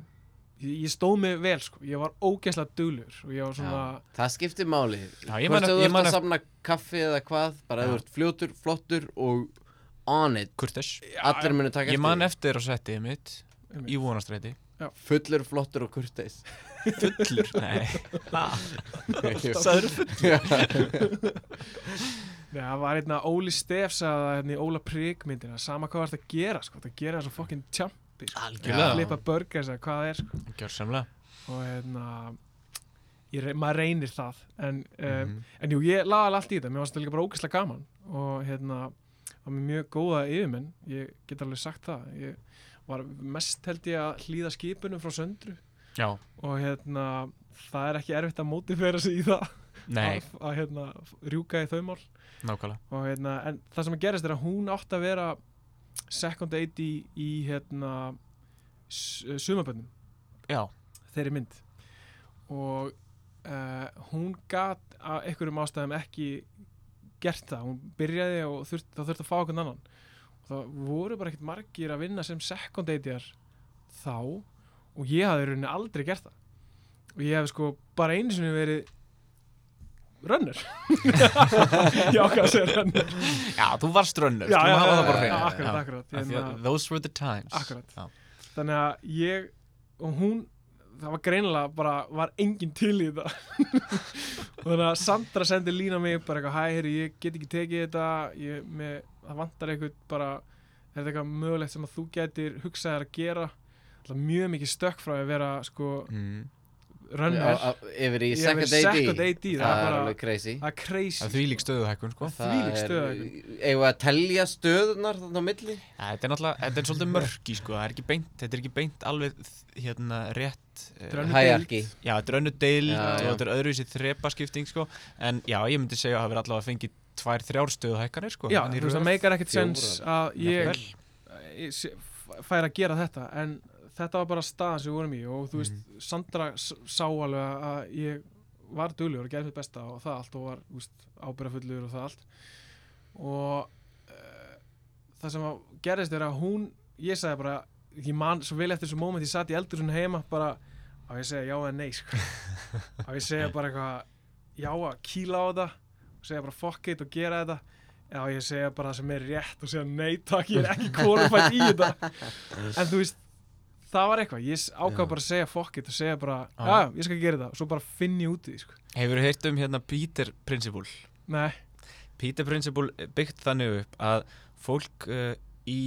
ég, ég stóð mig vel sko ég var ógeðslega duglur og ég var svona Já. Það skiptir máli. Já, ég Hvort man ef- að þú ég ert man að ef- samna kaffi eða hvað, bara að Já. þú ert fljótur, flottur og on it. Kurtis Allir munu taka Ég man því. eftir á settið mitt í vonastræti Fullur, flottur og kurteis. Fullur? Nei Sæður fullur. Nei, það var einna Óli Stefs að hérna í Óla Prygg myndina sama hvað var þetta að gera sko, það gera það svo fokkin tjampi sko, Já. Algjörlega flipa burgers eða hvað það er sko Gjörsamlega og hérna ég, rey- maður reynir það en, um, Mhm. en jú, ég laði alveg allt í þetta mér varst þetta líka bara ógeðslega gaman og hérna, var mér mjög góða yfirmenn ég get alveg sagt það ég var mest held ég að hlýða skipunum frá söndru Já, og hérna, það er ekki erfitt að mótifera sig í það nei, að, að hérna, rjúka í þau mál nákvæmlega og hérna, en það sem gerist er að hún átti að vera second AD í, í hérna sumaböndum, Já, þeirri mynd og uh, hún gat af einhverjum ástæðum ekki gert það, hún byrjaði og þurft, það þurfti að fá einhvern annan og það voru bara ekkert margir að vinna sem second AD-jar þá og ég hafði í rauninni aldrei gert það og ég hafði sko bara einu sinni verið runner ég ákvað að segja runner já þú varst rönnur já, já, já, hafa það bara já, hreinu. akkurat, akkurat Af því hérna, að Those were the times Akkurat. Já, þannig að ég og hún, það var greinilega bara var enginn til í þetta og þannig að Sandra sendi lína mig bara eitthvað, hæ, herri, ég get ekki tekið þetta ég, með, það vantar eitthvað bara, er þetta eitthvað mögulegt sem að þú getur hugsaðir að gera Alltaf mjög mikið stökk frá því að vera sko mm. runner, Já, á- Yfir í Yfir second AD. second AD, það er Það er bara- alveg crazy. það er crazy Það er því lík stöðuhækkun sko Það- þvílík stöðuhækkun. Eða að telja stöðunar þannig á milli? Ja, Þetta er náttúrulega, þetta er svolítið mörki sko Það er ekki beint, þetta er ekki beint alveg hérna rétt eh, Þetta er önnur Hæjarki. Já, þetta er önnu deild Já, og já. þetta er öðruvísi þrepaskipting sko En já, ég myndi segja að það verði allavega fengið tvær, þrjár stöðuhækkanir sko já, En í þú veist, það röð- meikar ekkert sens að ég Jafnvel. ég sé- f- fær að gera þetta en þetta var bara staðan sem við vorum í og þú veist, Mm. Sandra s- sá alveg að ég var duglur og gerði mitt besta og það allt og var þú veist, ábyrrafullur og það allt og uh, það sem að gerðist er að hún ég sagði bara, ég man svo vel eftir þessu moment ég satt í eldur svona heima bara á ég að segja já eða nei sko. á ég að segja bara eitthvað já að kýla á þetta og segja bara fuck it og gera þetta Já, ég segja bara það sem er rétt og segja nei takk, ég er ekki kvalified í þetta En þú veist, það var eitthvað Ég ákvað bara að segja fuck it og segja bara Já. Já, ég skal gera þetta og svo bara finn ég út í því sko. Hefurðu heyrt um hérna Peter Principle Nei, Peter Principle er byggt þannig upp að fólk uh, í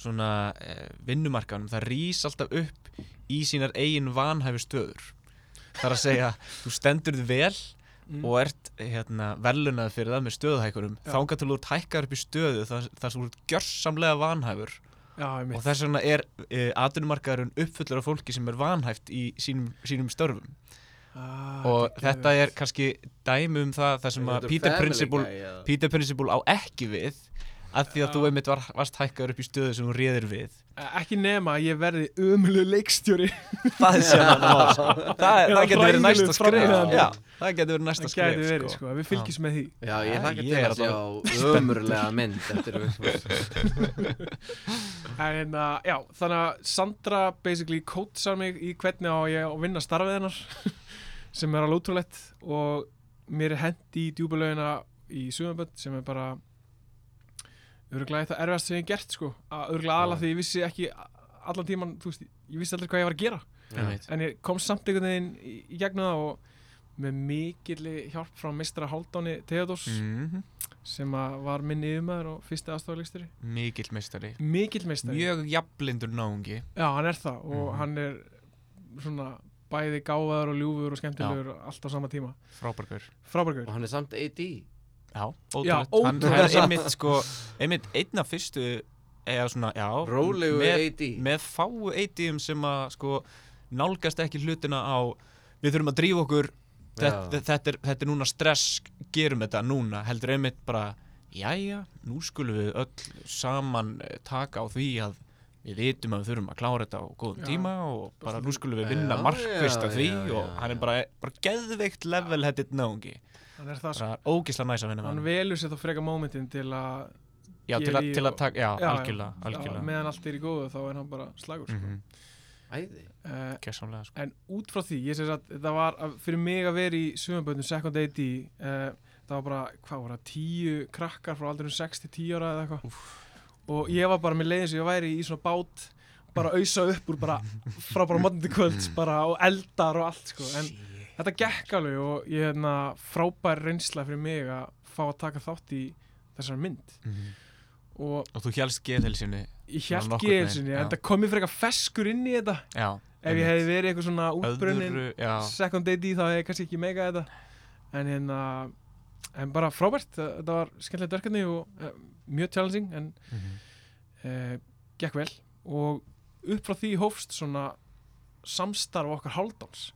svona uh, vinnumarkanum það rís alltaf upp í sínar eigin vanhæfi stöður það er að segja, þú stendur þið vel Mm. og ert hérna, velunað fyrir það með stöðuhækurum Já. þángar til þú ert hækkar upp í stöðu þar, þar sem þú ert gjörsamlega vanhæfur já, ég og mitt þess vegna er uh, atvinnumarkaðurinn uppfullur af fólki sem er vanhæft í sínum, sínum störfum ah, og geðveikt. þetta er kannski dæmi um það þar sem Þetta að er Peter family Principle guy, eða? Peter Principle á ekki við að því að Já. þú einmitt var, varst hækkaður upp í stöðu sem hún réðir við Ekki nema að ég verði ömuleg leikstjóri það er síðan að náða sko. það, Eða það getur verið hræðilegur næsta skref framleiðandi. Já, það getur verið Það næsta skref gæti verið, sko, við fylgjum með því Já, ég Já, hlakka ég til er um að sjá ömurlega mynd eftir Vixmars. En uh, já, þannig að Sandra basically kótsar mig í hvernig á ég að vinna starfið hennar sem er alveg ótrúlegt og mér er hendi í djúbulögina í sumabönd sem er bara örgulega eitthvað erfast sem ég hef gert sko, örgulega aðla Já. því ég vissi ekki allan tíman, þú veist, ég vissi aldrei hvað ég var að gera Einmitt. en ég kom samt einhvern veginn í, í gegnum það og með mikilli hjálp frá mistra Háldáni Theodors Mhm. sem að var minn yfirmaður og fyrsti aðstofarleiksturi Mikill meistari mikill meistari, Mjög jafnblindur náungi já hann er það og Mhm. hann er svona bæði gáðaður og ljúfur og skemmtilegur allt á sama tíma, Frábarkur frábærgur og hann er samt AD Já, Já, ótrúlegt Hann ótrúlegt er samt. einmitt sko Einmitt einn af fyrstu Eða svona, já rólegu með, AD með fáu eitíum sem að sko Nálgast ekki hlutina á Við þurfum að drífa okkur þetta, Já. þetta, er, þetta er núna stress, gerum þetta núna heldur einmitt bara, jæja nú skulum við öll saman eh, taka á því að við vitum að við þurfum að klára þetta á góðum Já. tíma og bara nú skulum við vinna Já, markvist af já, því já, og já, já. hann er bara, bara geðveikt level headed náungi hann er það sko, bara ógisla næs að vinna hann með hann velur sér þá freka mómentin til að já, til, að, gerir til og- að taka, Já, já, já. algjörlega, Já, algjörlega. meðan allt er í góðu þá er hann bara slagur sko. Mm -hmm. æði uh, Kessamlega, sko. en út frá því, ég sé að það var að, fyrir mig að vera í sumaböndum second AD uh, það var bara, hvað var það, tíu krakkar frá aldrinum 6 til 10 ára eða eitthvað og ég var bara með leiðin sem ég væri í svona bát bara ausa upp úr bara frá bara morgun til kvölds bara og eldar og allt sko. en þetta gekk alveg og ég hefna frábær reynsla fyrir mig að fá að taka þátt í þessar mynd Mhm. og og þú hélst geðhelsinu ég Svona held nokkurn ekki veginn, eins og já. en það kom ég frekar feskur inn í þetta já, ef ég hefði verið eitthvað svona útbrunnin öðru já, second AD þá hefði ég kannski ekki mega þetta en hérna en bara frábært, þa- þetta var skemmtilegt verkefni og uh, mjög challenging en mhm. uh, gekk vel og upp frá því hófst svona samstarf okkar hálfdáns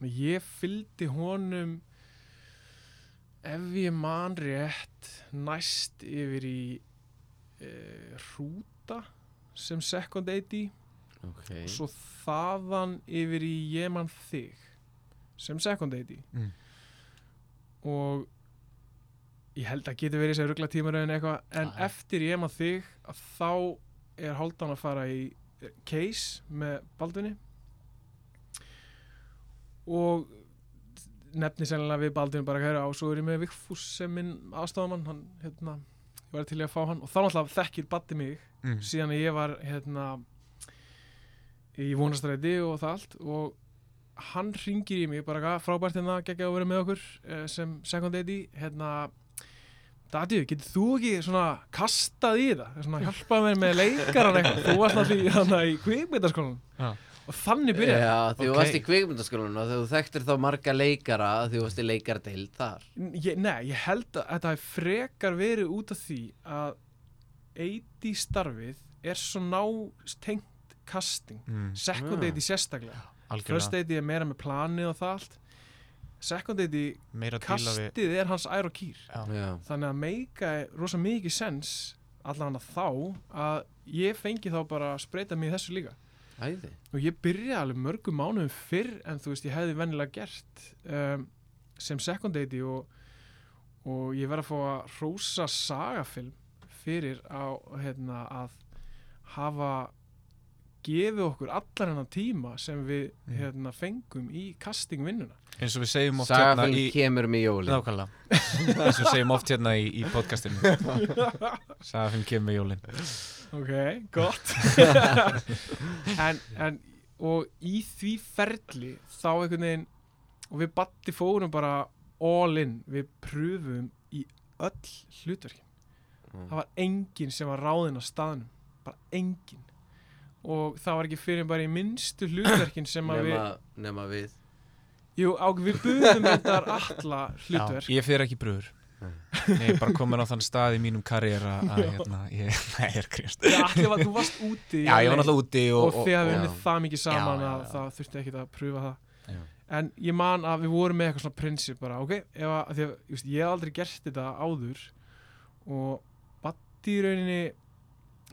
Men ég fylgdi honum ef ég man rétt næst yfir í uh, hrúta sem second AD ok og svo þaðan yfir í ég mann þig sem second AD Mm. og ég held að geti verið þessi ruggla tímaröðin eitthvað en Já, já. eftir ég mann þig að þá er Hálfdán að fara í eh, case með Baldvinni og nefni sennilega við Baldvin bara hæra og svo er ég með Vigfús sem minn aðstofamann hann, hérna, ég var til í að fá hann og þá náttúrulega þekkir Baddi mig Mhm. síðan að ég var hérna í vonastræti og það allt og hann ringir í mig bara "Ga- frábært hérna geggja að vera með okkur eh, sem second AD hérna Dati, getur þú ekki svona kastað í það, svona hjálpað mér með leikaran eitthvað, þú varst náttúrulega í, þarna í kvikmyndaskólan Já. og þannig byrjaði Já, því þú Ok. varst í kvikmyndaskólanum og þú þekktir þá marga leikara því þú varst í leikardeild þar N- Ég, nei, ég held að þetta hef frekar verið út af því að 80 starfið er svo ná tengt casting Mm, second Ah. AD sérstaklega first algjörlega AD er meira með planið og það allt second AD meira að díla við kastið er hans ær og kýr Já, þannig að meika rosa mikið sens allan að þá að ég fengi þá bara að spreita mig í þessu líka æði og ég byrjaði alveg mörgum mánuðum fyrr en þú veist ég hefði vennilega gert um, sem second AD og, og ég verði að fá að hrósa sagafilm fyrir á, hérna, að hafa gefið okkur allar hennar tíma sem við Mm. hérna, fengum í castingvinnuna eins og við segjum oft hérna Sagafinn í kemur með jólin Nákvæmlega, eins og við segjum oft hérna í, í podcastinu Sagafinn kemur með jólin Ok, gott en, en og í því ferli þá einhvern veginn og við batti fórum bara all in við pröfum í öll hlutverkin Mm. það var enginn sem var ráðinn á staðnum bara enginn og það var ekki fyrir bara í minnstu hlutverkin sem að við nema, nema við jú, á, við buðum þetta alla hlutverk Ég fer ekki í brúður Nei. Nei, ég er bara komin á þann stað í mínum karriera að hérna, ég, nei, ég er krist Já, Já, allir var, þú varst úti í ég var LA. náttúrulega úti og, og þið hafið og- unnið það mikið saman Já, já, að já. það þurfti ekkit að pröfa það Já. en ég man að við vorum með eitthvað svona prinsip bara, ok, ef að, því að just, ég hef aldrei gert þetta áður og batti í rauninni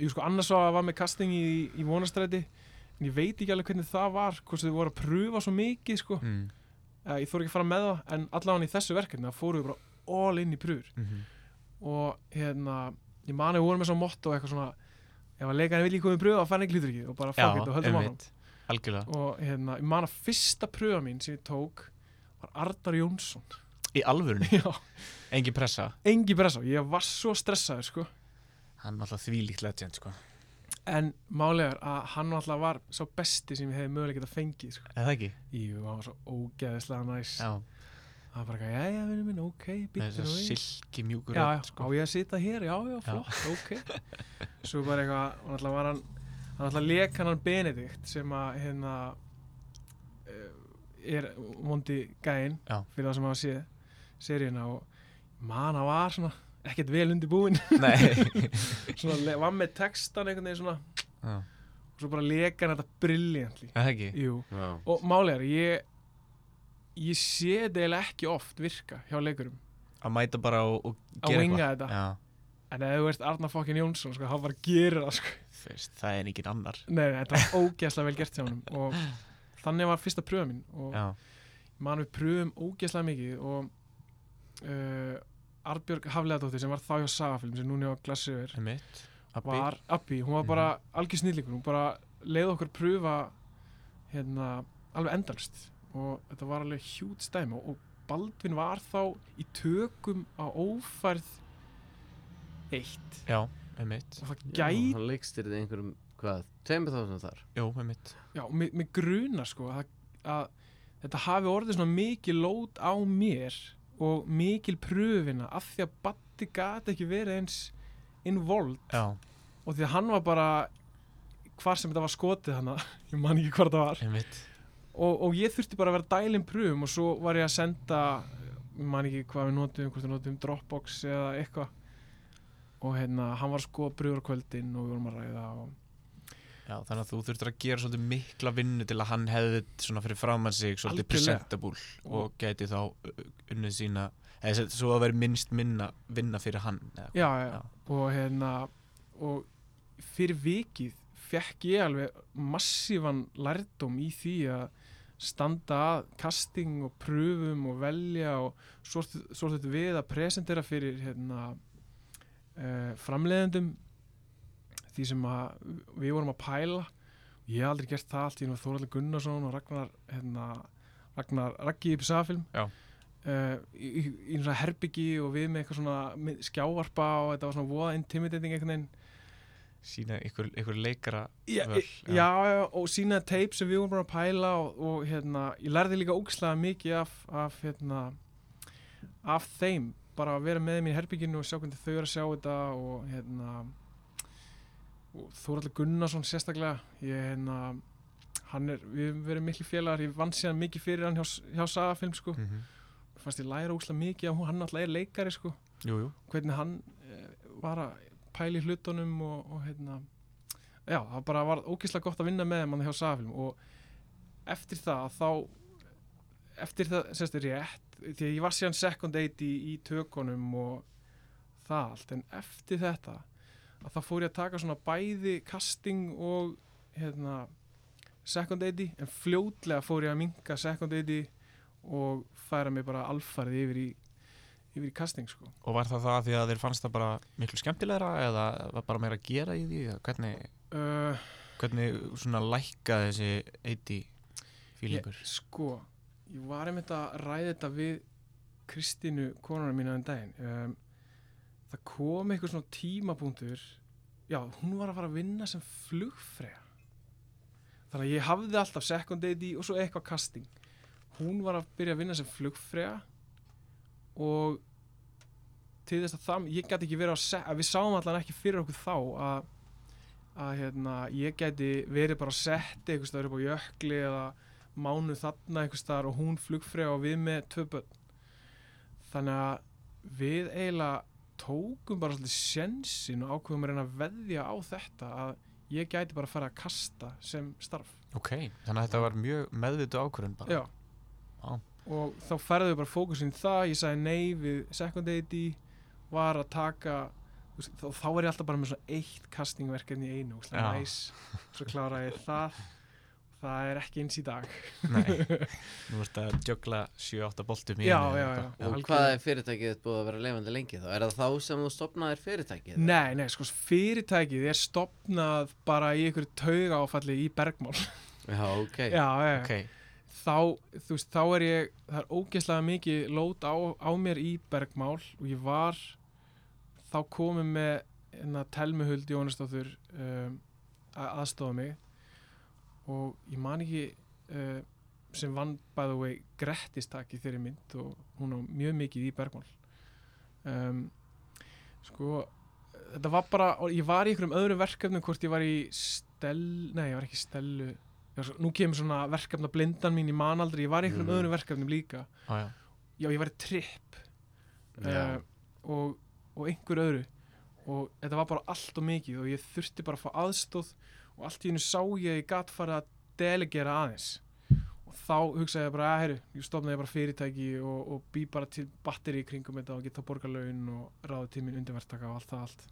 ég sko annars var að var með casting í, í vonastræti en ég veit ekki alveg hvernig það var hvort þið voru að pröfa svo mikið sko. mm, Eh, ég þóru ekki að fara með það en allavega í þessu verkefni það fóru við bara all in í pröfur mhm. og hérna ég man að við vorum með svo motto eitthvað svona ef að leikarinn vil ekki koma í pröfu þá fær hann ekki hlutur og bara fuck it og höldum áfram einmitt. Algjörlega og hérna, ég man að fyrsta pröfa mín sem ég tók var Arnar Jónsson í alvörunni, Já, engin pressa engi pressa, ég var svo stressaður sko hann er alltaf þvílíkt legend sko. en málegar að hann alltaf var svo besti sem ég hefði mögulega getað fengið sko. eða ekki Jú, hann var svo ógeðislega næs já, Það var bara eitthvað, já, já, vinnu minn, ok, með býttu nú í silki mjúkur Já, já, á ég að sita hér, já, já, flott, ok Svo bara eitthvað, hann alltaf var hann hann alltaf leik hann hann Benedikt sem að, hérna eh, er mondi gæinn Já. fyrir það sem hafa séð seríuna og man hann var svona ekkert vel undir búinn nei svona le- var með textan einhvern veginn svona Já. og svo bara leika hann þetta brilliantly eða ekki Jú, Já. og málegar, ég ég sé þetta eiginlega ekki oft virka hjá leikurum að mæta bara og, og að gera winga eitthvað þetta já, En ef þú ert Arnar fokkin Jónsson, sko, hann bara gerir það, sko. þú veist, það er engin annar Nei, nei, þetta var ógeðslega vel gert hjá hann og þannig var fyrsta pröfa mín og já, man við pröfum ógeðslega mikið og uh, Arbjörg Hafleðadóttir sem var þá hjá Sagafilm sem núna hjá Glassjöver mitt var Abbi, hún var bara algjör snillingur, hún bara leiði okkur pröfa hérna alveg endalst og þetta var alveg hjút stæmi og Baldvin var þá í tökum á ófærð eitt já, einmitt og það Já, gæti hann leikstir þetta einhverjum, hvað, tveimur þásum þar jú, einmitt Já, mig, mig grunar sko að, að þetta hafi orðið svona mikið lót á mér og mikil pröfina af því að Batti gati ekki verið eins involved já, og því að hann var bara hvar sem þetta var skotið hann ég man ekki hvar það var einmitt og, og ég þurfti bara að vera að dælin pröfum og svo var ég að senda ég man ekki hvað við notum, hvort við notum Dropbox eða eitthvað og hérna, hann var sko pröfur á kvöldin og við vorum að ræða og Já, þannig að þú þurftir að gera svolítið mikla vinnu til að hann hefði svona fyrir framann sig svolítið Algjörlega. presentable og gæti þá uh, unnið sína eða sem- svo að vera minnst minna vinna fyrir hann eða hvað. já, já, og hérna og fyrir vikið fekk ég alveg massífan lærdóm í því að standa að casting og pröfum og velja og svo er þetta við að presentera fyrir hérna uh, framleiðendum því sem að við vorum að pæla ég hef aldrei gert það allt ég er með Þóraldur Gunnarsson og Ragnar hérna, Ragnar Raggi í Psafilm Já. Eh, í, í, í svona herbyggi og við með eitthvað svona mynd- skjávarpa og þetta var svona voða intimidating einhvern veginn sína ykkur, ykkur leikara Já, Vel, já. já, já, og sína teip sem við vorum bara að pæla og, og hérna, ég lærði líka ógislega mikið af, af, hérna, af þeim, bara að vera með þeim í herbygginu og sjá hvernig þau eru að sjá þetta og hérna og Þóraldur Gunnarsson sérstaklega ég hérna hann er, við höfum verið miklu félagar, ég vann síðan mikið fyrir hann hjá, hjá Sagafilm sko mm -hmm. fannst ég læra ógislega mikið að hún- hann alltaf er leikari sko Jú, jú, hvernig hann eh, var að pæla í hlutunum og, og hérna já, það bara var ógeðslega gott að vinna með mann hjá Safilm og eftir það þá eftir það, sérst, rétt því að ég var síðan second date í, í tökunum og það allt en eftir þetta að þá fór ég að taka svona bæði casting og hérna second date en fljótlega fór ég að minka second date og færa mig bara alfarið yfir í yfir í casting sko og var það það því að þeir fannst það bara miklu skemmtilegra eða var bara meira að gera í því eða hvernig, Uh, hvernig svona lækka þessi 80 fílingur Ég, sko, ég var einmitt að ræða þetta við Kristínu konuna mína en daginn. Um, það kom eitthvað svona tímapunktur, já, hún var að fara að vinna sem flugfreyja. Þannig að ég hafði alltaf second date í og svo eitthvað casting. Hún var að byrja að vinna sem flugfreyja og til þess að það, ég gæti ekki verið á set, að við sáum allan ekki fyrir okkur þá að að hérna, ég gæti verið bara að setja einhvers staðar upp á jökli eða mánu þarna einhvers staðar og hún flugfrega og við með tvö börn þannig að við eiginlega tókum bara svolítið sjensin og ákveðum að reyna að veðja á þetta að ég gæti bara að fara að kasta sem starf ok, þannig að þetta var mjög meðvitu ákvörðun bara Já. Vá. og þá færðu við bara fókusin í það ég sagði nei við second AD var að taka þú veist, þá, þá er ég alltaf bara með svona eitt castingverkefni í einu, svona Já. næs svo klára ég það það er ekki eins í dag Nei, nú ert að jökla 7-8 boltum í Já, einu já, eða eitthvað. já. Og Algjörlega. hvað er fyrirtækið þitt búið að vera levandi lengi þá? Er það þá sem þú stopnaðir fyrirtækið? Nei, nei, sko, fyrirtækið er stopnað bara í einhverju tauga áfalli í Bergmál Já, ok. Já, já, Ok, þá, þú veist, þá er ég það er ógeðslega mikið lót á, á mér í bergmál og ég var þá komið með hérna telmuhuld Jónastóttur um, að aðstofa mig og ég man ekki uh, sem vann by the way grettistak í þeirri mynd og hún á mjög mikið í bergmál um, sko þetta var bara, og ég var í einhverjum öðrum verkefnum hvort ég var í stel, nei ég var ekki í stelu ég var svo, nú kemur svona verkefna blindan mín í manaldri, ég var í einhverjum Mhm. öðrum verkefnum líka Á, já. já ég var í tripp Já. uh, og, og einhver öðru og þetta var bara allt og mikið og ég þurfti bara að fá aðstóð og allt í hennu sá ég að ég gat farið að delegera aðeins og þá hugsaði ég bara, að herru, ég stofnaði bara fyrirtæki og, og bý bara til batteri í kringum þetta og geta borgarlaun og ráði til mín undirverktaka og allt það allt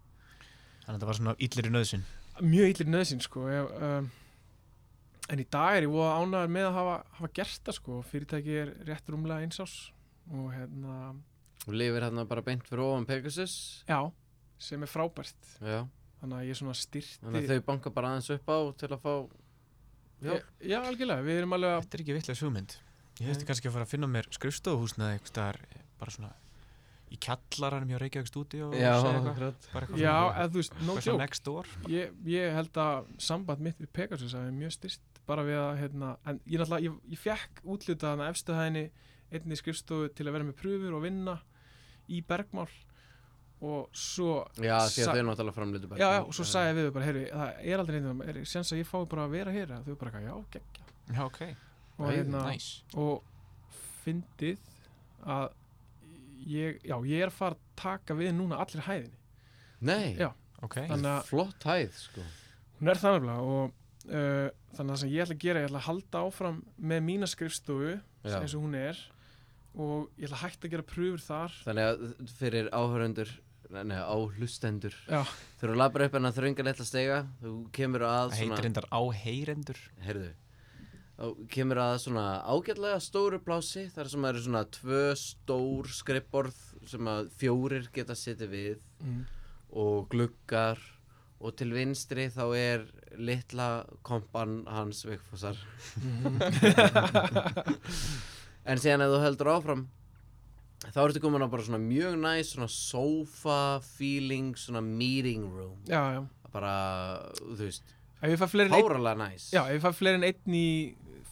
Þannig að þetta var svona illir í nöðsyn mjög illir nöðsinn sko ef, um, en í dag er ég voða ánæður með að hafa, hafa gert það sko fyrirtæki er rétt rúmlega einsás og hérna, og lifir hérna bara beint fyrir ofan Pegasus já sem er frábært já. þannig að ég svona styrti þannig að þau banka bara aðeins upp á til að fá já. já, algjörlega, við erum alveg að Þetta er ekki vitlega hugmynd Ég Nei. hefði kannski að fara að finna mér skrifstofhúsnaði einhvers staðar eh, bara svona í kjallaranum hjá Reykjavík stúdíu og segja eitthvað akkurat. Bara eitthvað já, svona- eða þú veist, no eitthvað svona joke next door ég, ég held að samband mitt við Pegasus hafi mjög styrst bara við að hérna, en ég náttúrulega, ég, ég fekk útlitað hana efstuhæðinni einni skrifstofu til að vera með pröfur og vinna í bergmál og svo já því Sa- að þau náttúrulega framlýtu já, já, og svo sagði ég við þau bara, heyrðu, það er aldrei neitt er sens að ég fái bara að vera hér eða þau bara, eitthvað, já, geggja Já, ok, og, Æ, hérna, nice og fyndið að ég, já, ég er að fara að taka við núna allir hæðinni nei, Já. Ok, Þannig að- flott hæð sko. hún er það nefnilega og uh, þannig að það sem ég ætla að gera, ég ætla að halda áfram með mína skrifstofu Já. eins og hún er og ég ætla að hægt að gera pröfur þar þannig að fyrir áhörundur Nei, áhlustendur Já. Þegar þú labbar upp en að þrönga litla stega Þú kemur að það svona heitir reyndar áheyrendur heyrðu, þá kemur að svona ágætlega stóru plási þar sem eru svona tvö stór skrippborð sem að fjórir geta setið við mm. og gluggar og til vinstri þá er litla kompan hans Vigfúsar en síðan ef þú heldur áfram þá ertu komin á bara svona mjög næs svona sofa feeling svona meeting room já, já, bara, þú veist, ef ég fæ fleiri en einn háralega næs já, ef ég fæ fleiri en einn í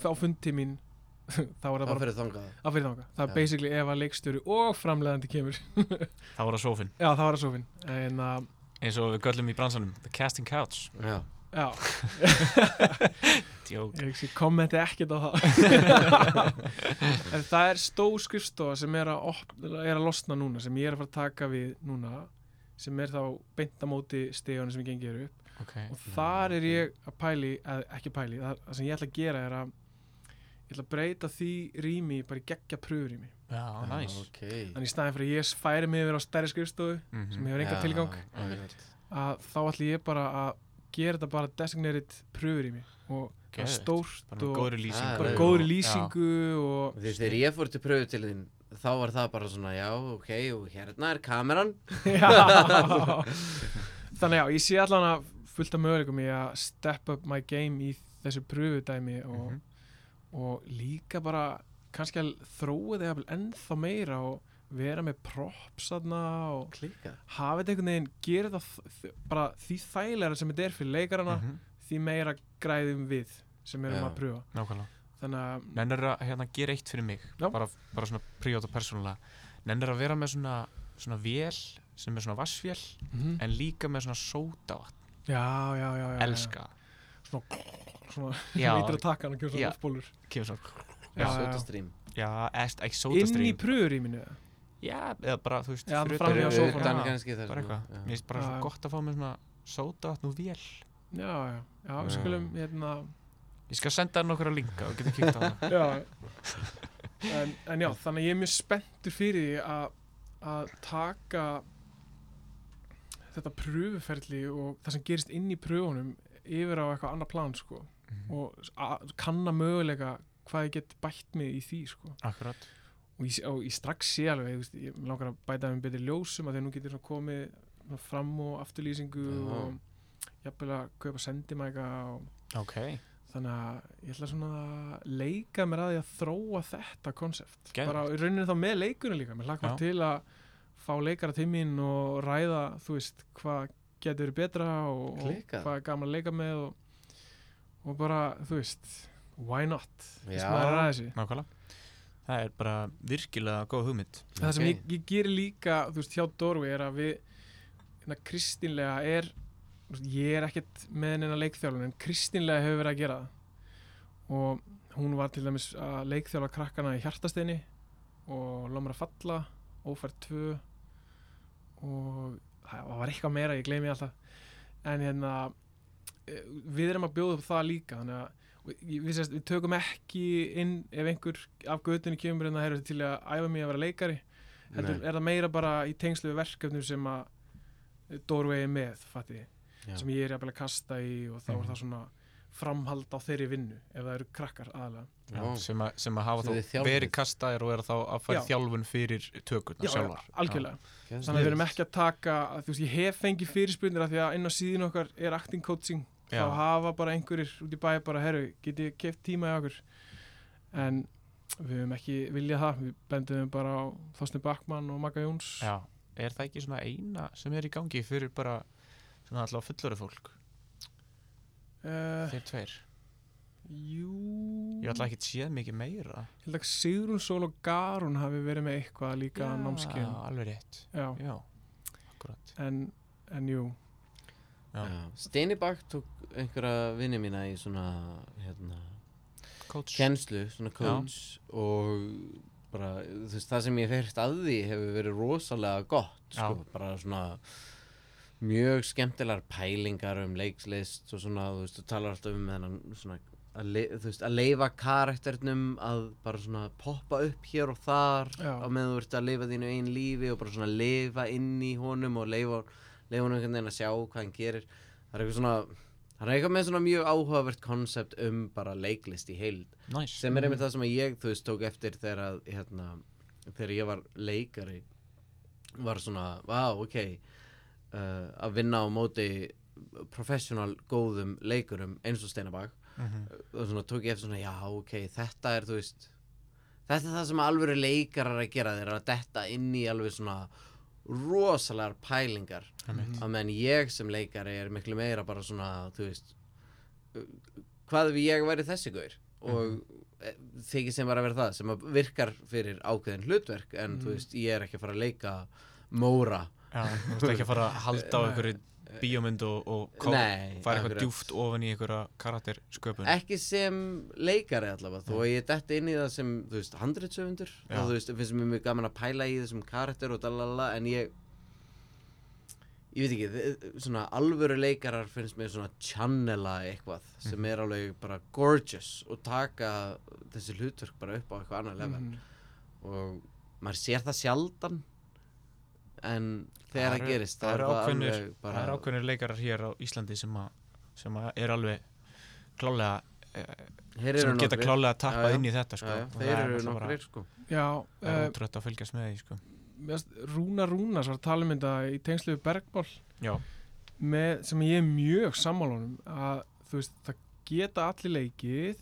á fundi mín þá er það það bara fyrir þangað að fyrir þanga það er Já. basically ef að leikstjóri og framlegandi kemur Það voru að sófin já, það var að sofin en uh, að, Eins og við göllum í bransanum The Casting Couch Já. já, Djók ég hugsi, kommenti ekkert á það en það er stó skrifstofa sem er að, op, er að losna núna sem ég er að fara að taka við núna sem er þá beint á móti stegunum sem ég gengi eru upp Mm. Ok, og þar er ég að pæli, að, ekki pæli það, það sem ég ætla að gera er að ég ætla að breyta því rými bara í geggja pröfurými já, nice ok þannig í staðin fyrir að ég færi mig yfir á stærri skrifstofu sem Mhm. hefur enga Já, tilgang einmitt. að þá ætli ég bara að gera þetta bara designated pröfur í mig og það er Geðveikt. stórt Bara með og góðri Ah, lýsingu bara leið góðri Já. lýsingu og Þú veist, þegar ég fór til pröfu til þín þá var það bara svona, já, ok, og hérna er kameran Já. þannig já, ég sé allan að fullt af möguleikum í að step up my game í þessu pröfudæmi og, Mhm. og líka bara kannski að þróa þig jafnvel ennþá meira og vera með props þarna og Klika hafa þetta einhvern veginn gera það þ- bara því þægilega sem þetta er fyrir leikarana Mhm. því meira græðum við sem erum að Já. pröfa Nákvæmlega þannig að Nennir að hérna, gera eitt fyrir mig Já. bara, bara svona príót og persónulega Nennir að vera með svona, svona vél sem er svona vassvél Mhm. en líka með svona sódavatn Já, já, já, já, já. Elska Svona Já, meitur að taka hann og kemur svona Já. loftbólur kemur svona Já, já, já. Sotastrím Já, eða ekki Inn í sódastrým pröfurýminu Já, eða bara, þú veist Já, fyrir frammi á utan- sófanum. Utan sko. Já, kannski þar Bara eitthvað Mér finnst bara Já, svo já. gott að fá með svona sódavatn og vél Já, já, já, við Já. skulum hérna Ég skal senda hann okkur að linka og geta kíkt á það Já en, en já, þannig að ég er mjög spenntur fyrir því að að taka þetta pröfuferli og það sem gerist inn í pröfunum yfir á eitthvað annað plan, sko Mhm. og að kanna möguleika hvað ég get bætt mig í því, sko Akkurat og ég, og ég strax sé alveg, þú veist, ég mig langar að bæta með betri ljósum að því að nú getur svona komið svona fram og afturlýsingu Já. og jafnvel að kaupa sendimæka og Ok þannig að ég ætla svona að leika mér að því að þróa þetta konsept Geðveikt. bara í rauninni þá með leikunum líka mér hlakka Já. til að fá leikara til mín og ræða þú veist hvað getur verið betra og, og Klikkað. hvað er gaman að leika með og, og bara þú veist why not Fyrst Já. maður er að þessu. nákvæmlega það er bara virkilega góð hugmynd það sem Ok. ég, ég gerir líka þú veist hjá Dorvi er að við hérna kristinlega er þú veist, ég er ekkert með henni leikþjálun en kristinlega hefur verið að gera það og hún var til dæmis að leikþjálfa krakkana í hjartasteini og lomra falla ófært tvö og það var eitthvað meira, ég gleymi alltaf en hérna eh, við erum að bjóða upp það líka þannig að og ég- við, sérst, við tökum ekki inn ef einhver af götunni kemur en það er til að æfa mig að vera leikari heldur Nei. er það meira bara í tengslu við verkefnum sem að Dórvei er með, fatti, Já. sem ég er jafnvel að kasta í og þá er Mhm. það svona framhald á þeirri vinnu, ef það eru krakkar aðalega. Já, Vá. sem, að, sem að hafa Sem þið þá þjálfið. verið kastaðir og er þá að fara Já. þjálfun fyrir tökurnar sjálfar algjörlega. Geðveikt. Þannig að við erum ekki að taka, að, þú veist, ég hef fengið fyrirspurnir af því að inn á síðin okkar er acting coaching, Já. þá hafa bara einhverjir út í bæ bara, herru, get ég keft tíma í okkur? En við höfum ekki viljað það, við bendum bara á Þorsten Backmann og Magga Jóns. Já. er það ekki svona eina sem er í gangi fyrir bara svona alltaf fullöru fólk Uh, þeir tveir, jú... ég ætla ekki að séð mikið meira Ég held að Sigrun Sól og Garun hafi verið með eitthvað líka Já, námskeið. alveg rétt, Já, já, akkurat en, en jú, Já. Já. Steini Bakk tók einhverja vinni mína í svona hérna, coach, kennslu, svona coach og bara, þú veist, það sem ég fyrst að því hefur verið rosalega gott Já. sko, bara svona mjög skemmtilegar pælingar um leikslist og svona, þú veist, þú talar alltaf um þennan svona að, le, þú veist, að leifa karakternum að bara svona poppa upp hér og þar Já. á meðan þú ert að leifa þínu einn lífi og bara svona leifa inn í honum og leifa, leifa honum einhvern veginn að sjá hvað hann gerir það er eitthvað svona það er eitthvað með svona mjög áhugavert konsept um bara leiklist í heild næs sem er einmitt það sem að ég, þú veist, tók eftir þegar að, hérna, þegar ég var leikari var svona, vá, ok uh, að vinna á móti professional góðum leikurum eins og Steinabag Mhm. og svona tók ég eftir svona, já, ok, þetta er, þú veist þetta er það sem alvöru leikarar að gera þeir eru að detta inn í alveg svona rosalegar pælingar Mm. Einmitt. að menn ég sem leikari er miklu meira bara svona, þú veist uh, hvað ef ég væri þessi gaur og mm þykir sem var að vera það sem að virkar fyrir ákveðin hlutverk en þú veist, ég er ekki að fara að leika Móra Já, þú veist ekki að fara að halda á einhverju bíómynd og, og kó- Nei, fara eitthvað akkurat. djúft ofan í einhverja karaktersköpun ekki sem leikari allavega þó að ég detti inn í það sem, þú veist, handritsöfundur Já. og þú veist, finnst mér mjög gaman að pæla í þessum karakter og dalala en ég ég veit ekki, þi- svona alvöru leikarar finnst mér svona channela eitthvað sem Mhm. er alveg bara gorgeous og taka þessi hlutverk bara upp á eitthvað annað level mhm. og maður sér það sjaldan en þegar það Það eru- gerist það það er eru það ákveðnir- alveg Það er bara ákveðnir leikarar hér á Íslandi sem að, sem að er alveg klálega, eh, Þeir sem eru geta nokkrir. klálega að tappa Já, já. inn í þetta sko. Já, já, Og þeir það er eru náttúrulega bara- nokkrir sko Já, Það er eh, útrútt að fylgjast með því sko. mér finnst Rúna Rúnas var að tala um þetta í tengslu við Bergmál Já, með, sem ég er mjög sammálunum að þú veist, það geta allir leikið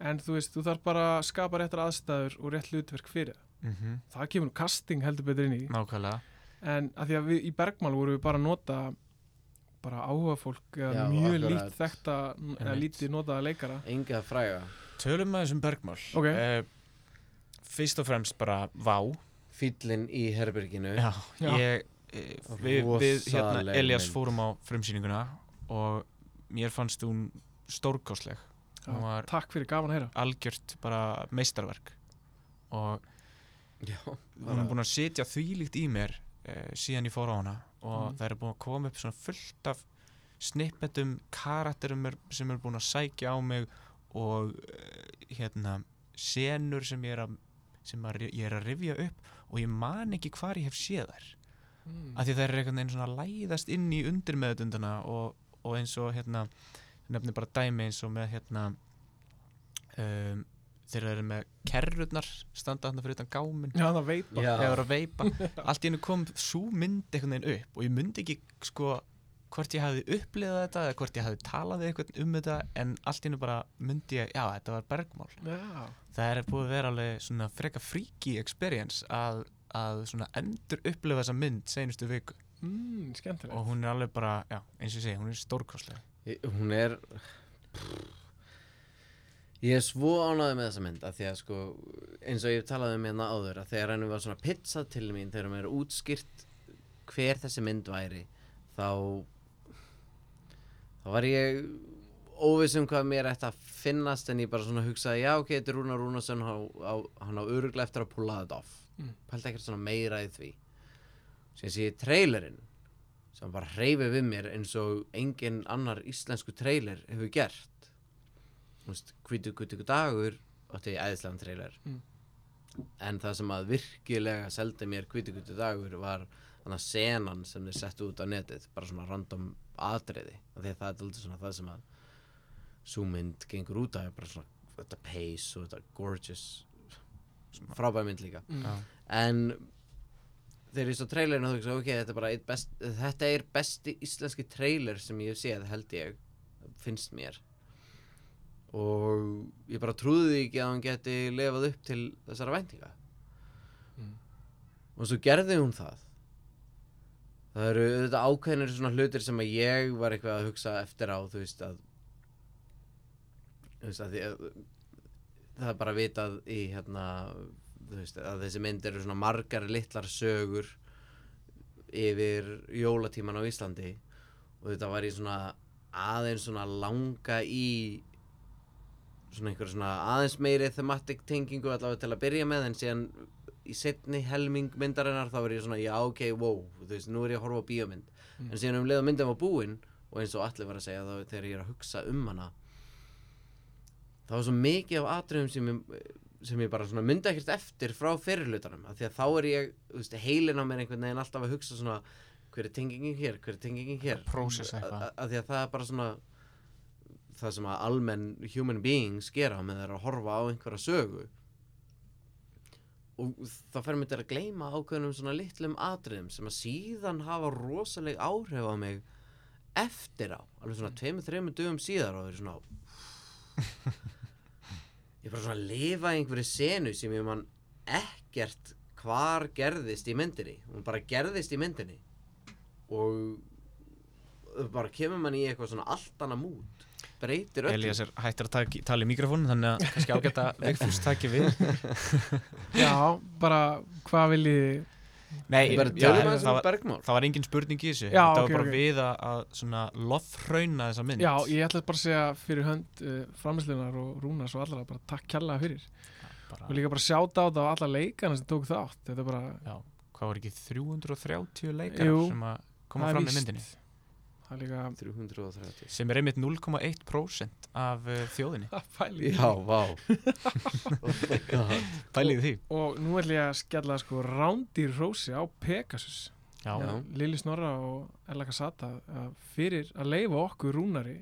en þú veist, þú þarf bara að skapa réttar aðstæður og rétt hlutverk fyrir það. mm Það kemur nú casting heldur betur inn í nákvæmlega en að því að við í Bergmál vorum við bara að nota bara áhuga fólk eða Já, mjög akkurat. lít þekta eða Einmitt. lítið notaða leikara Enga fræga Tölum með þessum bergmál Ok. Eh, Fyrst og fremst bara vá Fýllin í herberginu Já, Já. ég, eh, við, við hérna Rosaleg Elias mynd. fórum á frumsýninguna og mér fannst hún stórkosleg Hún Já, var Takk fyrir gaman að heyra algjört bara meistarverk og Já, hún bara- er búin að setja þvílíkt í mér uh, síðan ég fór á hana og Mhm. það er búin að koma upp svona fullt af snippetum, karakterum er, sem er búin að sækja á mig og uh, hérna senur sem ég er að sem að, ri- ég er að rifja upp og ég man ekki hvar ég hef séð þær mm. af því þær eru einhvern veginn svona að læðast inn í undirmeðutundana og, og eins og hérna nefnir bara dæmi eins og með hérna um, þeir eru með kerrurnar standa hérna fyrir utan gámin Já, það veit bara Já. þegar ég var að veipa allt í hennu kom svo mynd einhvern veginn upp og ég myndi ekki sko hvort ég hafði upplifað þetta eða hvort ég hafði talað við eitthvað um þetta en allt innu bara myndi ég, já þetta var bergmál Já, það er búið að vera alveg svona freka freaky experience að, að svona endur upplifa þessa mynd seinustu viku mm, skemmtileg og hún er alveg bara, já, eins og ég segi, hún er stórkostlega Ég- hún er ég er svo ánægði með þessa mynd að því að sko eins og ég talaði um hérna áður að þegar henni var svona pizzað til mín þegar mér er útskýrt hver þessi mynd væri þá þá var ég óviss um hvað mér ætti að finnast en ég bara svona hugsaði já ok, þetta er Rúnar Rúnarsson hann á, á- hann á öruglega eftir að púla þetta off Mm. pælti ekkert svona meira í því sem sé ég trailerinn sem bara hreyfi við mér eins og engin annar íslensku trailer hefur gert Þú veist, hvítu hvítu dagur átti ég æðislegan trailer Mm. en það sem að virkilega seldi mér hvítu hvítu dagur var þannig að senan sem þeir settu út á netið bara svona random atriði af því að það er alltaf svona það sem að súmynd gengur út af er bara svona þetta pace og þetta gorgeous frábæð mynd líka mm. Já. en þegar ég svo trailerinu þú hugsa ok, þetta er bara eitt best, þetta er besti íslenski trailer sem ég hef séð held ég, finnst mér og ég bara trúði því ekki að hún geti lifað upp til þessara væntinga Mm. og svo gerði hún það það eru auðvitað ákveðnir svona hlutir sem að ég var eitthvað að hugsa eftir á þú veist að þú veist að því að það er bara vitað í hérna þú veist, að þessi mynd eru svona margar litlar sögur yfir jólatíman á Íslandi og þetta var ég svona aðeins svona langa í svona einhver svona aðeins meiri thematic tengingu allavega til að byrja með en síðan í setni helming myndarinnar þá var ég svona já ok, wow, þú veist, nú er ég að horfa á bíómynd Mm. en síðan um leið að myndin var búin og eins og allir var að segja þá þegar ég er að hugsa um hana það var svo mikið af atriðum sem ég, sem ég bara svona myndi ekkert eftir frá fyrirlutanum af því að þá er ég, þú veist, heilin á mér einhvern veginn alltaf að hugsa svona hver er tengingin hér, hver er tengingin hér Prósessa eitthvað. A- a- af því að það er bara svona það sem að almenn human beings gera með þeir að horfa á einhverja sögu og það fer mér til að gleyma ákveðnum svona litlum atriðum sem að síðan hafa rosaleg áhrif á mig eftir á, alveg svona tveimur, þreimur dögum síðar og það er svona ég er bara svona að lifa í einhverju senu sem ég man ekkert hvar gerðist í myndinni hún bara gerðist í myndinni og það bara kemur mann í eitthvað svona allt annað mút breytir öllu Elías er hættur að taki, tala í mikrofónu þannig að kannski ágætt að Vigfús taki við Já, bara hvað viljið þið ég Nei, bara já, tölum aðeins það, um var, bergmál það var engin spurning í þessu Já, þetta ok, var bara ok. við að, að svona lofrauna þessa mynd Já, ég ætla bara að segja fyrir hönd uh, framherslunar og Rúnars og allra bara takk kjærlega fyrir bara, og líka bara sjáta á það á alla leikana sem tók þátt þetta er bara, Hvað var ekki 330 leikar Jú, sem að það koma er fram í víst. myndinni það er líka 330 sem er einmitt 0,1% af uh, þjóðinni að pæli já, vá oh my god Pælið því og nú ætla ég að skella sko rándýr hrósi á Pegasus Já, Já. Lili Snorra og Ella Casata að fyrir að leifa okkur Rúnari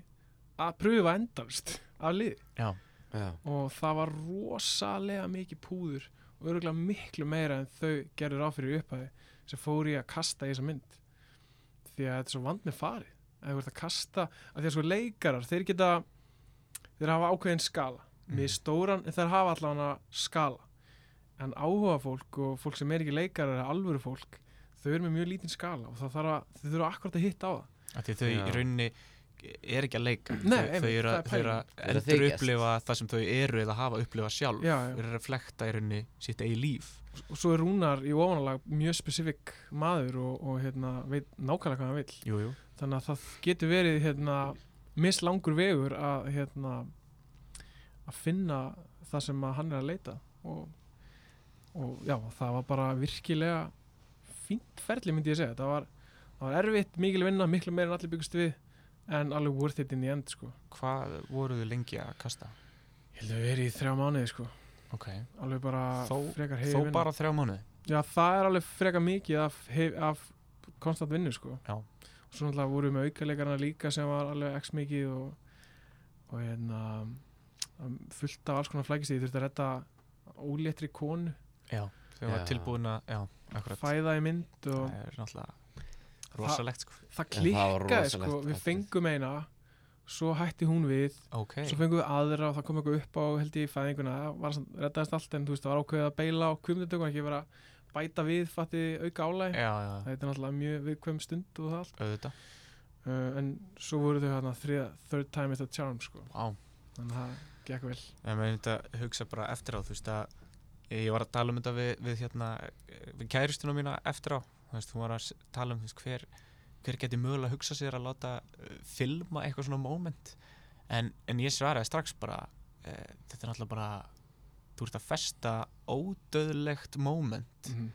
að pröfa endalst af lið já. já, og það var rosalega mikið púður og öruglega miklu meira en þau gerður á fyrir upphæði sem fór ég að kasta í þessa mynd því að þetta er svo vand með farið að þú ert að kasta, að því að sko leikarar þeir geta, þeir hafa ákveðin skala Mhm. með stóran, en þeir hafa allavega skala en áhuga fólk og fólk sem er ekki leikarar eða alvöru fólk, þau eru með mjög lítinn skala og það þarf að, þau þurfa akkurat að hitta á það Af því þau Já. í rauninni er ekki að leika Nei, þau, einmitt, þau eru það er að, þau pælingin. eru eru að að endur þykjast. upplifa það sem þau eru eða hafa upplifað sjálf já, þau já. eru að reflekta í rauninni sitt eigi líf og svo er Rúnar í ofanalag mjög spesifik maður og, og hérna, veit nákvæmlega hvað hann vil Jú, jú þannig að það getur verið hérna, mislangur vegur að, hérna, að finna það sem að hann er að leita og, og já, það var bara virkilega fínt ferli myndi ég segja það var, það var erfitt, mikil vinna, miklu meira en allir byggust við en alveg worth it in the end sko. Hvað voru þau lengi að kasta? ég held að við verið í þrjá mánuði sko. Ok, alveg bara Þó- frekar heiði þó vinna bara þrjá mánuði já, það er alveg frekar mikið af, hef, af konstant vinnu sko. Já. og svo náttúrulega vorum við með aukalegarna líka sem var alveg x mikið og, og hérna um, fullt af alls konar flækist ég þurfti að redda óléttri konu Já, þau var Já. tilbúin að, já, akkurat fæða í mynd og Það er náttúrulega rosalegt sko það En það var klikkaði rosalegt sko, við atrið. fengum eina svo hætti hún við ok, svo fengum við aðra og það kom eitthvað upp á held ég fæðinguna, það var samt, reddaðist allt en þú veist, það var ákveðið að beila á kvimdutökun ekki vera að bæta við, fatti auka álæg já, já, þetta er náttúrulega mjög viðkvæm stund og það allt auðvitað uh, en svo voru þau hérna þriða, third time is a charm sko, wow. þannig að það gekk vel Ég meina þetta hugsa bara eftir á, þú veist að ég var að tala um þetta við, við, hérna, við kæristuna mína eftir á, þú veist, hún var að s- tala um þú veist, hver, hver geti mögulega að hugsa sér að láta uh, filma eitthvað svona moment, en, en ég svaraði strax bara, uh, þetta er náttúrulega bara, þú ert að festa ódöðlegt moment mm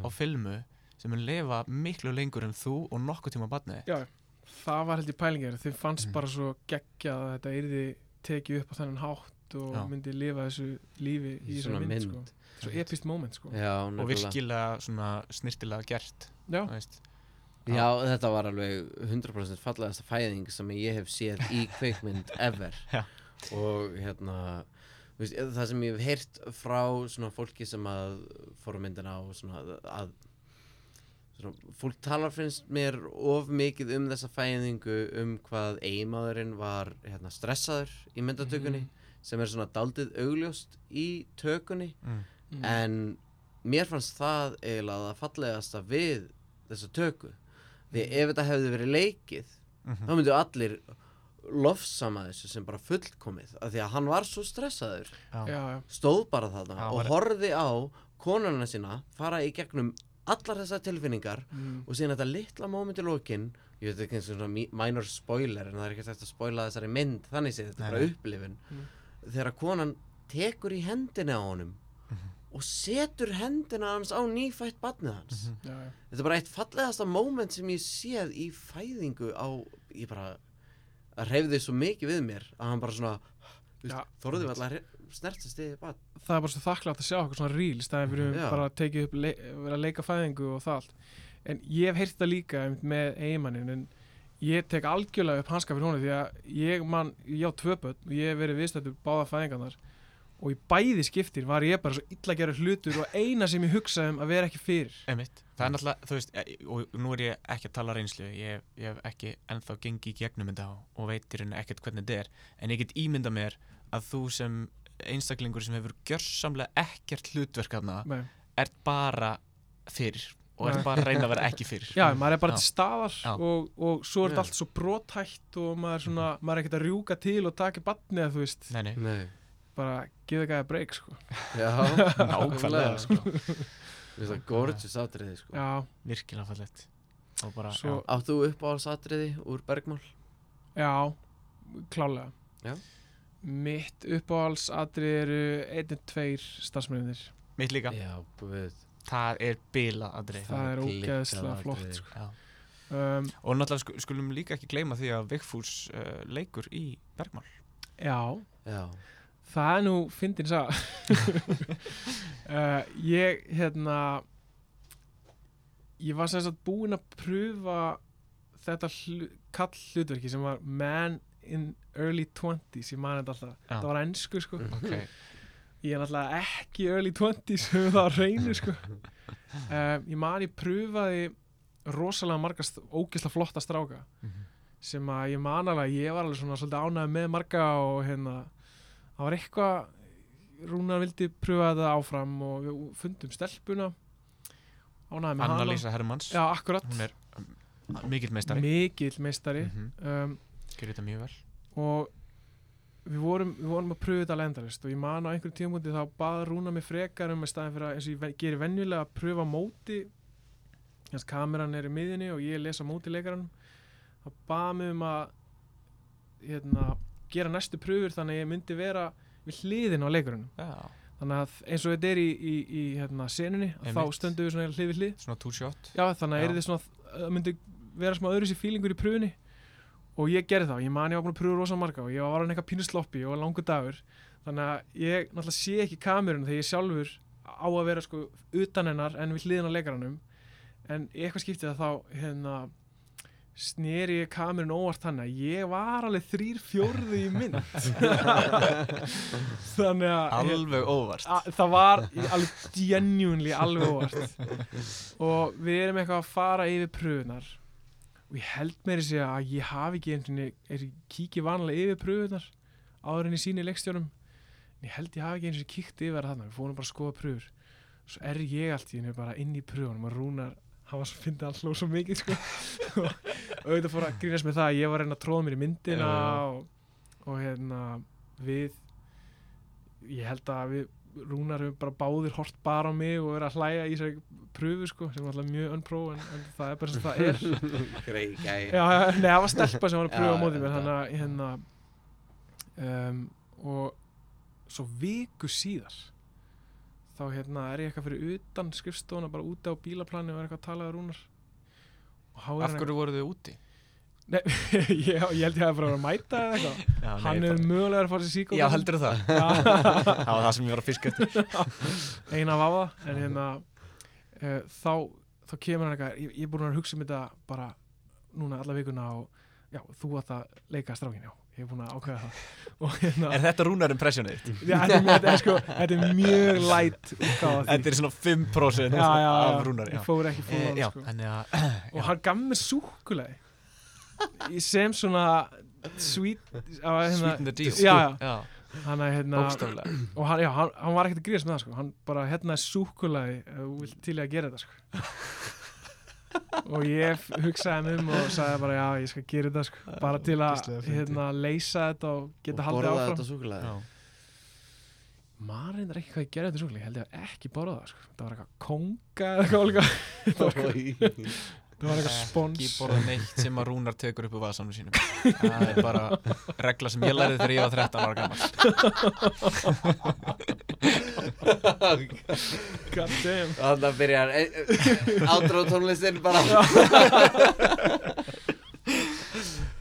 á filmu sem mun lifa miklu lengur en þú og nokkuð tíma barnið. já, það var held ég pælingir þeim fannst Mhm. bara svo geggjað að þetta yrði tekið upp á þennan hátt og Já. myndi lifa þessu lífi í, Í í svona mynd, mynd. Sko. svo epist moment sko Já, Og nefnilega. virkilega svona snirtilega gert, já, þú veist. Já, þetta var alveg 100% fallegasta fæðing sem ég hef séð í kveikmynd ever Já. og hérna þú veist, það sem ég hef heyrt frá svona fólki sem að fóru myndina og svona að- að svona, fólk talar finnst mér of mikið um þessa fæðingu um hvað eiginmaðurinn var hérna, stressaður í myndatökunni Mm. sem er svona daldið augljóst í tökunni Mm. Mm. en mér fannst það eiginlega það fallegasta við þessa töku því ef þetta hefði verið leikið Mm Mhm. þá myndu allir lofsama þessu sem bara fullkomið af því að hann var svo stressaður já, já, stóð bara þarna Já, og var- horfði á konuna sína fara í gegnum allar þessar tilfinningar mm. og síðan þetta litla moment í lokin ég veit ekki eins og svona mi- minor spoiler en það er ekki hægt að spoila þessari mynd þannig séð þetta Nei, er bara nei. upplifun Mm. þegar konan tekur í hendina á honum Mhm. og setur hendina hans á nýfætt barnið hans Mhm. já, já. þetta er bara eitt fallegasta moment sem ég séð í fæðingu á ég bara það reyfði svo mikið við mér að hann bara svona Já. þú veist, þorði við alltaf snertast í barn það er bara svo þakklátt að sjá okkur svona reels það er verið Já. bara að tekið upp le vera að leika fæðingu og það allt en ég hef heyrt það líka einmitt með eiginmannin en ég tek algjörlega upp hanska fyrir honum því að ég man, ég á tvö börn og ég hef verið viðstættur báða fæðingarnar og í bæði skiptir var ég bara svo illa að gera hlutur og eina sem ég hugsaði um að vera ekki fyrir Einmitt. Það er náttúrulega, þú veist, eh, og nú er ég ekki að tala af reynslu, ég, ég hef ekki ennþá gengið í gegnum þetta og- og veitir henni ekkert hvernig þetta er, en ég get ímyndað mér að þú sem einstaklingur sem hefur gjörsamlega ekkert hlutverk hana, Nei. ert bara fyrir og Nei. ert bara að reyna að vera ekki fyrir. já, maður er bara Já. til staðar Já. og, og svo er Já. þetta allt svo brotætt og maður er svona, maður er ekkert að rjúka til og taka batni eða þú veist, Nei, nei, Nei, bara gefa gæða break sko. já nákvæmlega, sko. Þetta er gorgeous atriði sko já, virkilega fallegt. Og bara, svo, Átt þú upp á alls atriði úr Bergmál? Já, klálega Já. Mitt uppáhaldsatrið eru einn, tveir starfsmennir já, mitt líka, Já, guð það er bila aðrið. Það er klikkað ógeðslega atriði. flott sko. Já. um, Og náttúrulega sku- skulum líka ekki gleyma því að Vigfús uh, leikur í Bergmál. Já, Já, það er nú fyndin sá uh, Ég, hérna Ég var sem sagt búinn að pröfa þetta hlu, kall hlutverki sem var man in early 20s, ég man þetta alltaf Já. það var ennsku sko Okay. ég er náttúrulega ekki early 20s sem það á reynu sko. um, ég man ég pröfaði rosalega marga st- ógeðslega flotta stráka Mhm. sem að ég man alveg að ég var alveg svona svolítið ánægð með marga og hérna það var eitthvað Rúnar vildi pröfa þetta áfram og við fundum stelpuna ánægð með hana Anna-Lísa Hermanns, já, akkurat, hún er um, mikill meistari mikill meistari mm -hmm. um, gerir þetta mjög vel og við vorum, við vorum að pröfa þetta lendarist og ég man á einhverjum tímúti þá bað Rúna mig frekar um að staðin fyrir að eins og ég ve- geri venjulega að pröfa á móti hans kameran er í miðinni og ég les á móti leikaranum þá bað mig um að hérna, gera næstu pröfur þannig að ég myndi vera við hliðin á leikarunum já. þannig að eins og þetta er í, í, í hérna, senunni að Einmitt. þá stöndum við svona hlið við hlið svona two shot Já, þannig Já. að yrði svona, það myndi vera smá öðru sér fílingur í pröfunni og ég gerði það, ég man ég var búin að pröfu rosa marga og ég var hann eitthvað pínu sloppi og langur dagur þannig að ég náttúrulega sé ekki kamerun þegar ég sjálfur á að vera sko utan hennar en við hliðin á leikaranum en í eitthvað skiptið að þá hérna sneri ég kamerun óvart hann að ég var alveg þrýr fjórði í mynd þannig að hérna, alveg óvart A, það var í- alveg genuinely alveg óvart og við erum eitthvað að fara yfir pröfunar og ég held meiri sig að ég hafi ekki einhvern veginn kíkið vanlega yfir pröfunar áður en ég síni leikstjónum en ég held ég hafi ekki eins og kíkt yfir þarna við fórum bara að skoða pröfur svo er ég allt í henni bara inn í pröfunum og rúnar hann var svo fyndið að hló svo mikið sko. og auðvitað fór að grínast með það að ég var að reyna að tróða mér í myndina Já, já, já. Og, og hérna við ég held að við rúnar hefur bara báðir hort bara á mig og verið að hlæja í þessari pröfu sko, sem var alltaf mjög önpró en, en það er bara sem það er Grei, gæi já, já, nei, það var stelpa sem var að pröfa Já, á móti mér þetta- þannig að hérna um, og svo viku síðar þá hérna er ég eitthvað fyrir utan skrifstofuna bara úti á bílaplani og er eitthvað að tala við Rúnar og há er Af hverju voru þau úti? nei, ég, ég held ég að bara að mæta eða eitthvað Já, hann er mögulega að fara sér síkó Já, heldur það heldur Það var það sem ég var að fiska eftir eina vafa en hérna uh, þá, þá kemur hann eitthvað ég, ég er búin að hugsa um þetta bara núna alla vikuna og já, þú átt að leika strákin, já, ég er búin að ákveða það og hérna Er þetta rúnar impressionið? þitt? já, þetta, er, þetta, er sko, þetta er mjög læt útgáfa af Þetta því er svona 5% já, já, af já, rúnar já. ég fór ekki Eh, fór já, eh, á sko. þannig að og hann gaf mér súkulegi sem svona sweet, á, hérna, Sweeten the deal já, já, já hann er hérna Bókstaflega og hann, já, hann, hann var ekkert að gríðast með það sko. hann bara hérna er súkulaði uh, til ég að gera þetta sko. og ég f- hugsaði hann um og sagði bara já ég skal gera þetta sko. bara til að ógeðslega fyndið. hérna, leysa þetta og geta Og haldið borðaði áfram þetta súkulega maður reyndar ekki hvað ég gerði þetta súkulaði ég held ég að ekki borða það sko. það var eitthvað konga eða eitthvað líka. það var eitthvað Ekki spons borða neitt sem að rúnar tekur upp úr vasanum sínum Það er bara regla sem ég lærið þegar ég var 13 ára gammal god damn Þannig að byrjar Átrá tónlistin bara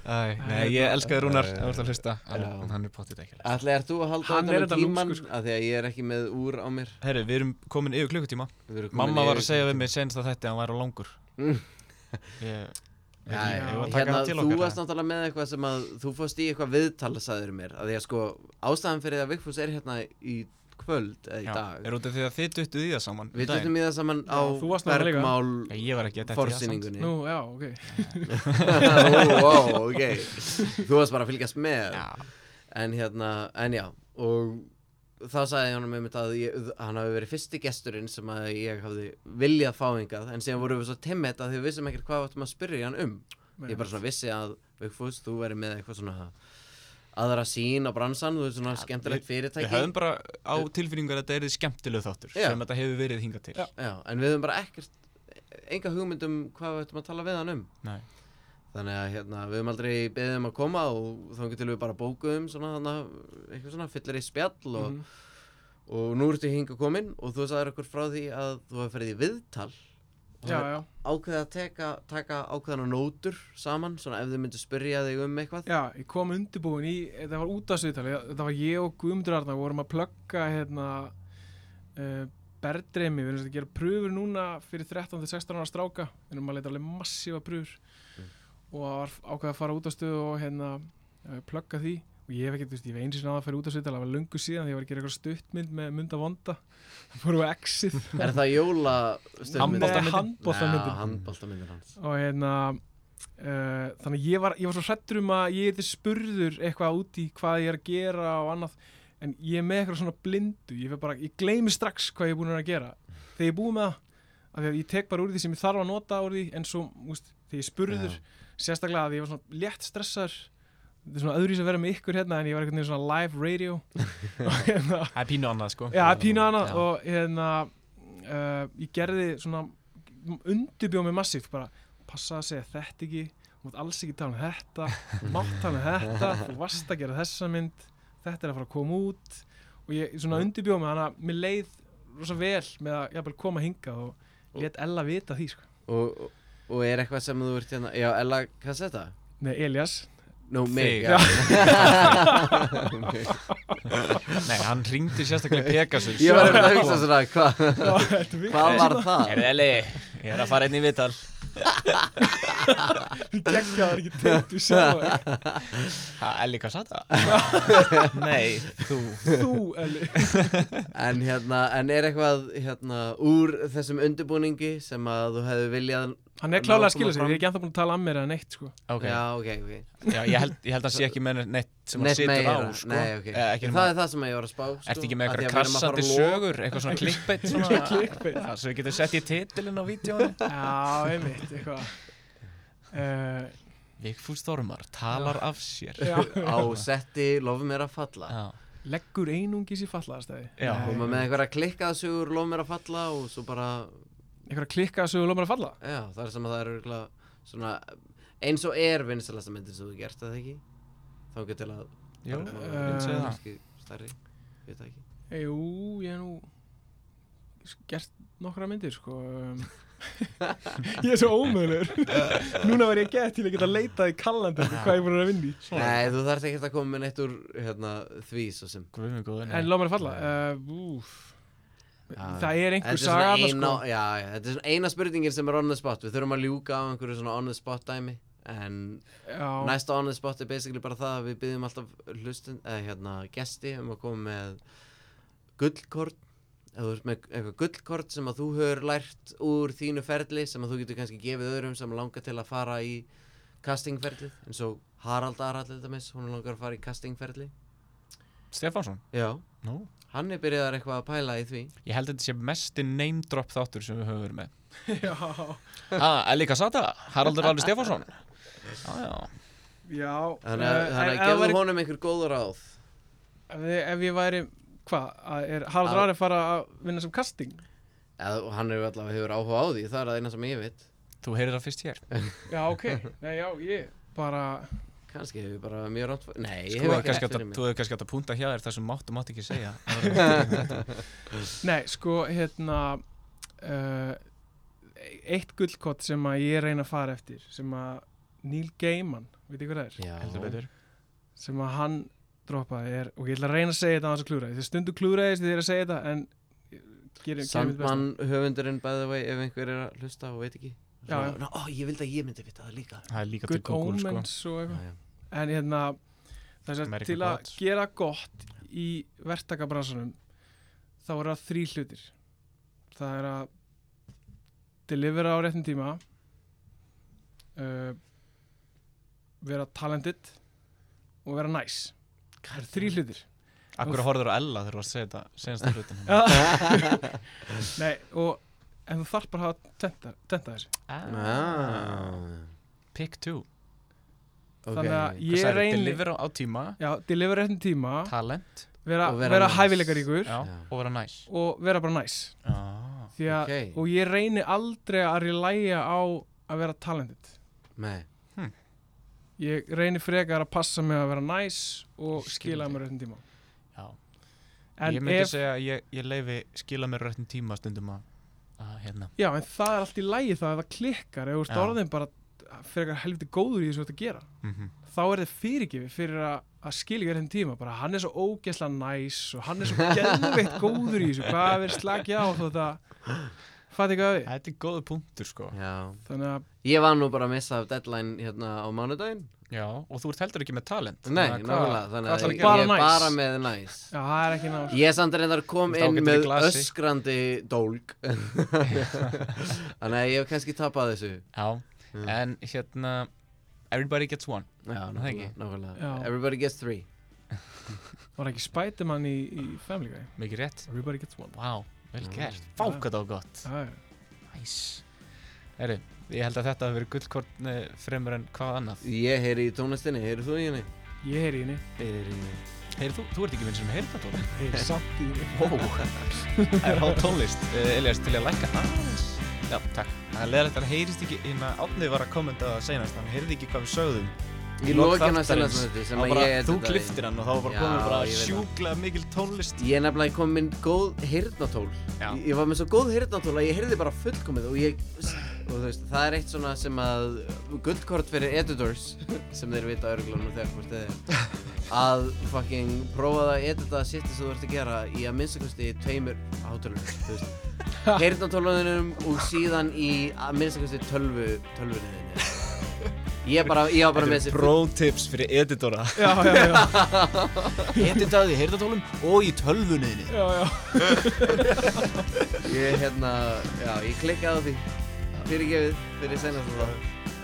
Æ, Nei, ég elskaði rúnar Það var að hlusta Já. Hann- Hann er pottið ekki Ætli, er þú að halda Hann er þetta með þetta tíman? lúmskur, sko. Af því að ég er ekki með úr á mér Herru, við erum komin yfir klukkutíma Við erum komin Mamma var yfir- að segja við mig senst að þetta hann væri á langur Mm. Ég Já, Já, já, ég var að taka hérna, það til þú okkar, varst það. náttúrulega með eitthvað sem að þú fost í eitthvað viðtal sagður mér, að því að sko ástæðan fyrir að Vigfús er hérna í kvöld eða í Já, dag, er út af því að þið duttuð í það saman um við daginn. duttum í það saman á þú varst náttúrulega líka. Já, Bergmál Ég var ekki að þetta forsýningunni nú já ok Ó, ó, ok þú varst bara að fylgjast með Já, en hérna, en já og þá sagði hann með mitt að ég, hann hafi verið fyrsti gesturinn sem að ég hafði viljað fá hingað en síðan vorum við svo timmett að því við vissum ekkert hvað við áttum að spyrja hann um ég bara svona vissi að Vigfús, þú verið með eitthvað svona aðra sín á bransan, þú veist svona skemmtilegt fyrirtæki Við höfum bara á tilfinningar að þetta er skemmtileg þáttur Já. sem þetta hefur verið hingað til Já. Já, en við höfum bara ekkert enga hugmynd um hvað við ættum að tala við hann um Nei. þannig að hérna, við höfum aldrei beðið um að koma og þá getur við bara bókuðum svona, þarna, eitthvað svona fyllir í spjall og, Mhm. og nú ertu hingað komin og þú sagðir okkur frá því að þú hefur ferið í viðtal og já já ákveðið að teka, taka ákveðana nótur saman, svona ef þau myndu spyrja þig um eitthvað Já, ég kom undirbúin í, þetta var útastviðtali, þetta var ég og Guðmundur Arna, við vorum að plugga hérna uh, berðdreimi, við erum sem sagt að gera pröfur núna fyrir 13-16 ára stráka, við erum að leita alveg massífa pröfur og það var ákveð að fara útastöðu og hérna uh, plugga því og ég hef ekki, þú veist, ég hef eins og náða að fara útastöðu, það var löngu síðan því ég var að gera eitthvað stuttmynd með munda vonda, það fórum við exið Er það jóla Handboltamyndin? Nei, handboltamyndin. Já, handboltamyndin hans og hérna uh, þannig að ég var, ég var svo hrettur um að ég er spurður eitthvað út í hvað ég er að gera og annað en ég er með eitthvað svona blindu ég, fer bara, ég gleymi strax hvað ég er búin að gera þegar ég er búin með það af því að ég tek bara úr því sem ég þarf að nota úr því en svo, úst, þegar ég er spurður sérstaklega að ég var svona létt stressaður þetta er svona öðru að vera með ykkur hérna en ég var einhvern veginn svona live radio og hérna Það er pínu annað sko Já, pínu hana Já. og hérna uh, ég gerði svona undirbjóð mig massíft bara passa að segja þetta ekki þú mátt alls ekki tala um þetta mátt tala um þetta, þú varst að gera þessa mynd þetta er að fara að koma út og ég svona undirbjóð mig hana mér leið rosa vel með að jafnvel koma hingað og let Ella vita því sko. og, og- og er eitthvað sem þú ert hérna Já, Ella Cassetta? Nei, Elias Nú, mig, Þig. já Nei, hann ringdi sérstaklega í Pegasus Ég var að hugsa svona, hvað hva Hvað var það? Erðeli, ég er að fara inn í viðtal Gekkjaður ekki teitt við sjálf Ha, Elli, hvað satt Nei, þú Þú, Elli En hérna, en er eitthvað hérna úr þessum undirbúningi sem að þú hefði viljað Hann er klálega að Ná að koma skila sér, fram. ég er ekki ennþá búin að tala að mér en neitt sko. ok, já, Já, ok, ok ég, held, ég held að sé ekki með neitt sem hann Neitt situr á meira, sko. nei, ok. Eh, ekki nema- Það er það sem ég var að spá sko. Ertu ekki með Af því að við eitthvað erum að fara krassandi að loka- sögur, eitthvað svona klikkbeitt svona Clickbait. Já, Svo við getum sett í titilinn á vídjónu Já, einmitt, eitthvað. Uh, Vigfús Þormar talar af sér já. Á setti, lof mér að falla Já, Leggur einungis í fallaðastæði. Já. Koma með einhverja klikkað sögur, lof mér að falla og svo bara, Eitthvað klikkað sem við lóðum að falla. já, það er sem að það er örugglega svona, eins og er vinsælasta myndin sem þú hefur gert, er það ekki? Þá getur til að jú, bara- eh, myndi segja það. kannski stærri, ég veit það ekki Jú, ég er nú gert nokkra myndir sko. um. ég er svo ómöðlur. Núna var ég gett til að geta leitað í kallandur hvað ég er búin að vinna í. Nei, þú þarft ekki að koma með neitt úr hérna, því svo sem Guð minn góður, nei. En lóðum að falla. Uh, úf. Já. Það er Ah. Þetta einhver er svona saga þarna, eina, sko. já, já, þetta er svona eina spurningin sem er on the spot Við þurfum að ljúka á einhverju svona on the spot dæmi En Já. næsta on the spot er basically bara það að við byggjum alltaf hlustin, eða hérna, gesti um að koma með gullkort eða þú ert með eitthvað gullkort sem að þú hefur lært úr þínu ferli sem að þú getur kannski gefið öðrum sem langar til að fara í castingferlið eins og Harald Arall dæmis, hún langar að fara í castingferli Stefánsson Já, Nú. hann er byrjaðar eitthvað að pæla í því Ég held að þetta sé mesti name drop þáttur sem við höfum verið með Já. Ah, Elli Kassata, Haraldur Valur Stefánsson Já, já Já. Þannig að, eh, þannig ef- ef að það væri- gefðu honum einhver góð ráð Ef, þið- ef ég væri, hvað, að er Haraldur Að- Ari fara að vinna sem casting? Eða, og hann hefur allavega hefur áhuga á því, það er það eina sem ég veit. Þú heyrir það fyrst hér Já, ok, nei, já, ég bara, Kannski hefur bara mjög rátt fyrir... Nei, Sko, ég Sko, Þú hefur hefur ekki kannski rétt átt fyrir að- mig. þú hefur kannski átt að punta hjá þér það sem mátt og mátt ekki segja nei, sko, hérna, uh, eitt gullkott sem að ég reyna að fara eftir, sem að Neil Gaiman, veit ég hvað það er, Já, Heldur betur sem að hann droppaði er, og ég ætla að reyna að segja þetta á þess að klúra, þið stundu klúra þess þið er að segja þetta, en ég gerir Sandmann höfundurinn, by the way, ef einhver er að hlusta og veit ekki. Já, já. Ná, ó, ég vildi að ég myndi vita það líka. Það er líka til Good Google sko Omens og eitthvað. Já, já. en hérna þess að American til að Gods. gera gott í verktakabransanum þá er það þrý hlutir það er að delivera á réttin tíma uh, vera talented og vera nice það er þrý hlutir Akkur horfður á Ella þegar þú varst að segja þetta senast að hlutin Nei, og, en þú þarf bara að hafa tenta, tenta þessu Ah, Pick two ok. þannig að Hvað ég sagði, reyni deliver á, á tíma já, delivera á réttin tíma Talent vera, Og vera vera, vera nice. hæfileikaríkur Já, Já. og vera næs og vera bara nice Já Því að, Ok. og ég reyni aldrei að relæja á að vera talented Nei, ég reyni frekar að passa mig að vera nice og Ég skil skila þig. mér öllum tíma Já Ég en, myndi ef, segja að ég, ég leifi skila mér röttin tíma stundum að, að Ah, hérna já, en það er allt í lægi það að það klikkar ef þú ert Já. orðin bara frekar helviti góður í þessu að gera mm -hmm. þá er þið fyrirgifi fyrir að, að skila ekki öllum tíma bara hann er svo ógeðslega nice og hann er svo geðveitt góður í þessu hvað er verið slagja á þú þetta fætti ekki að við Þetta er góðu punktur sko já. þannig að Ég var nú bara að missa af deadline hérna á mánudaginn. Já, og þú ert heldur ekki með talent Nei, Þannig að hvað- nákvæmlega. Þannig hvað ætlarðu að gera? að ég Bara er nice. bara með næs. já, það er ekki náttúrulega Ég samt reyndar kom Þú ert inn ágætur í með glasi. öskrandi dólg Þannig að ég hef kannski tapað þessu Já, Mm. en hérna Everybody gets one Já, það ekki? nákvæmlega, nákvæmlega. Já. Everybody gets three var ekki Spiderman í, í Family Guy Mikið rétt everybody gets one Vá, vel Mm. gert Vá, hvað það var gott það er Næs Herru, ég held að þetta hafi verið gullkorn eh, fremur en hvað annað Ég heyri í tónlistinni, heyri þú í henni? ég heyri í henni Heyri í henni Heyri, þú, þú ert ekki minn sem heyrði það tónlist heyri samt í henni Vó, það er á tónlist uh, Elias, til ég að lækka aðeins Já, takk Það er leðilegt að hann heyrist ekki hérna Átnið var að kommenta það senast Hann heyrði ekki hvað við sögðum Í lok lokin að selja þáttarins. þetta Það sem var að bara, ég þú editaði. kliftir hann og þá var bara Já, komin bara ég veit það. sjúklega mikil tónlist Ég er nefnilega kom minn góð heyrnatól Já. Ég var með svo góð heyrnatól að ég heyrði bara fullkomið og ég og þú veist, það er eitt svona sem að gullkort fyrir editors sem þeir vita örgulega nú þegar hvort þið er að fucking prófa það að edita sitt sem þú ert að gera í að minnstakosti tveimur átölunum, þú veist heyrnatólunum og síðan í að minnstakosti tölvu tölvunum Ég bara, ég var bara með þessi Pro tips fyrir editora já, já, já Editaði í heyrðartólum og í tölvunniðinni já, já. Ég, hérna, já, ég klikkaði á því fyrirgefið fyrir senast það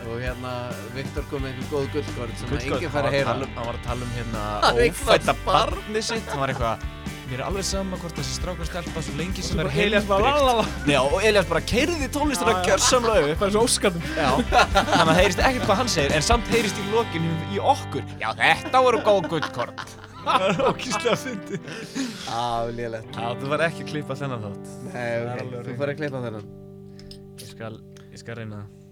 og hérna Viktor kom með einhver góð gullkort sem að Gullkorn, enginn fær að heyra hann var að tala um- hann var að tala um hérna Hann er eitthvað ófædda barn. barnið sitt hann var eitthvað mér er alveg sama hvort þessi strákur stelpa svo lengi sem það er Elías bara heilbrigt lalala Já, og Elias bara keyrði tónlistina Já, já. gjörsamlega upp bara svo óskattum Já, þannig að heyrist ekkert hvað hann segir en samt heyrist í lokinu í okkur Já, þetta voru góð gullkorn Það er ókýrslega fyndið Á, lélegt Já, þú var ekki að klippa þennan þátt Nei, er ok, alveg þú hreint. fær að klippa þennan Ég skal, ég skal reyna það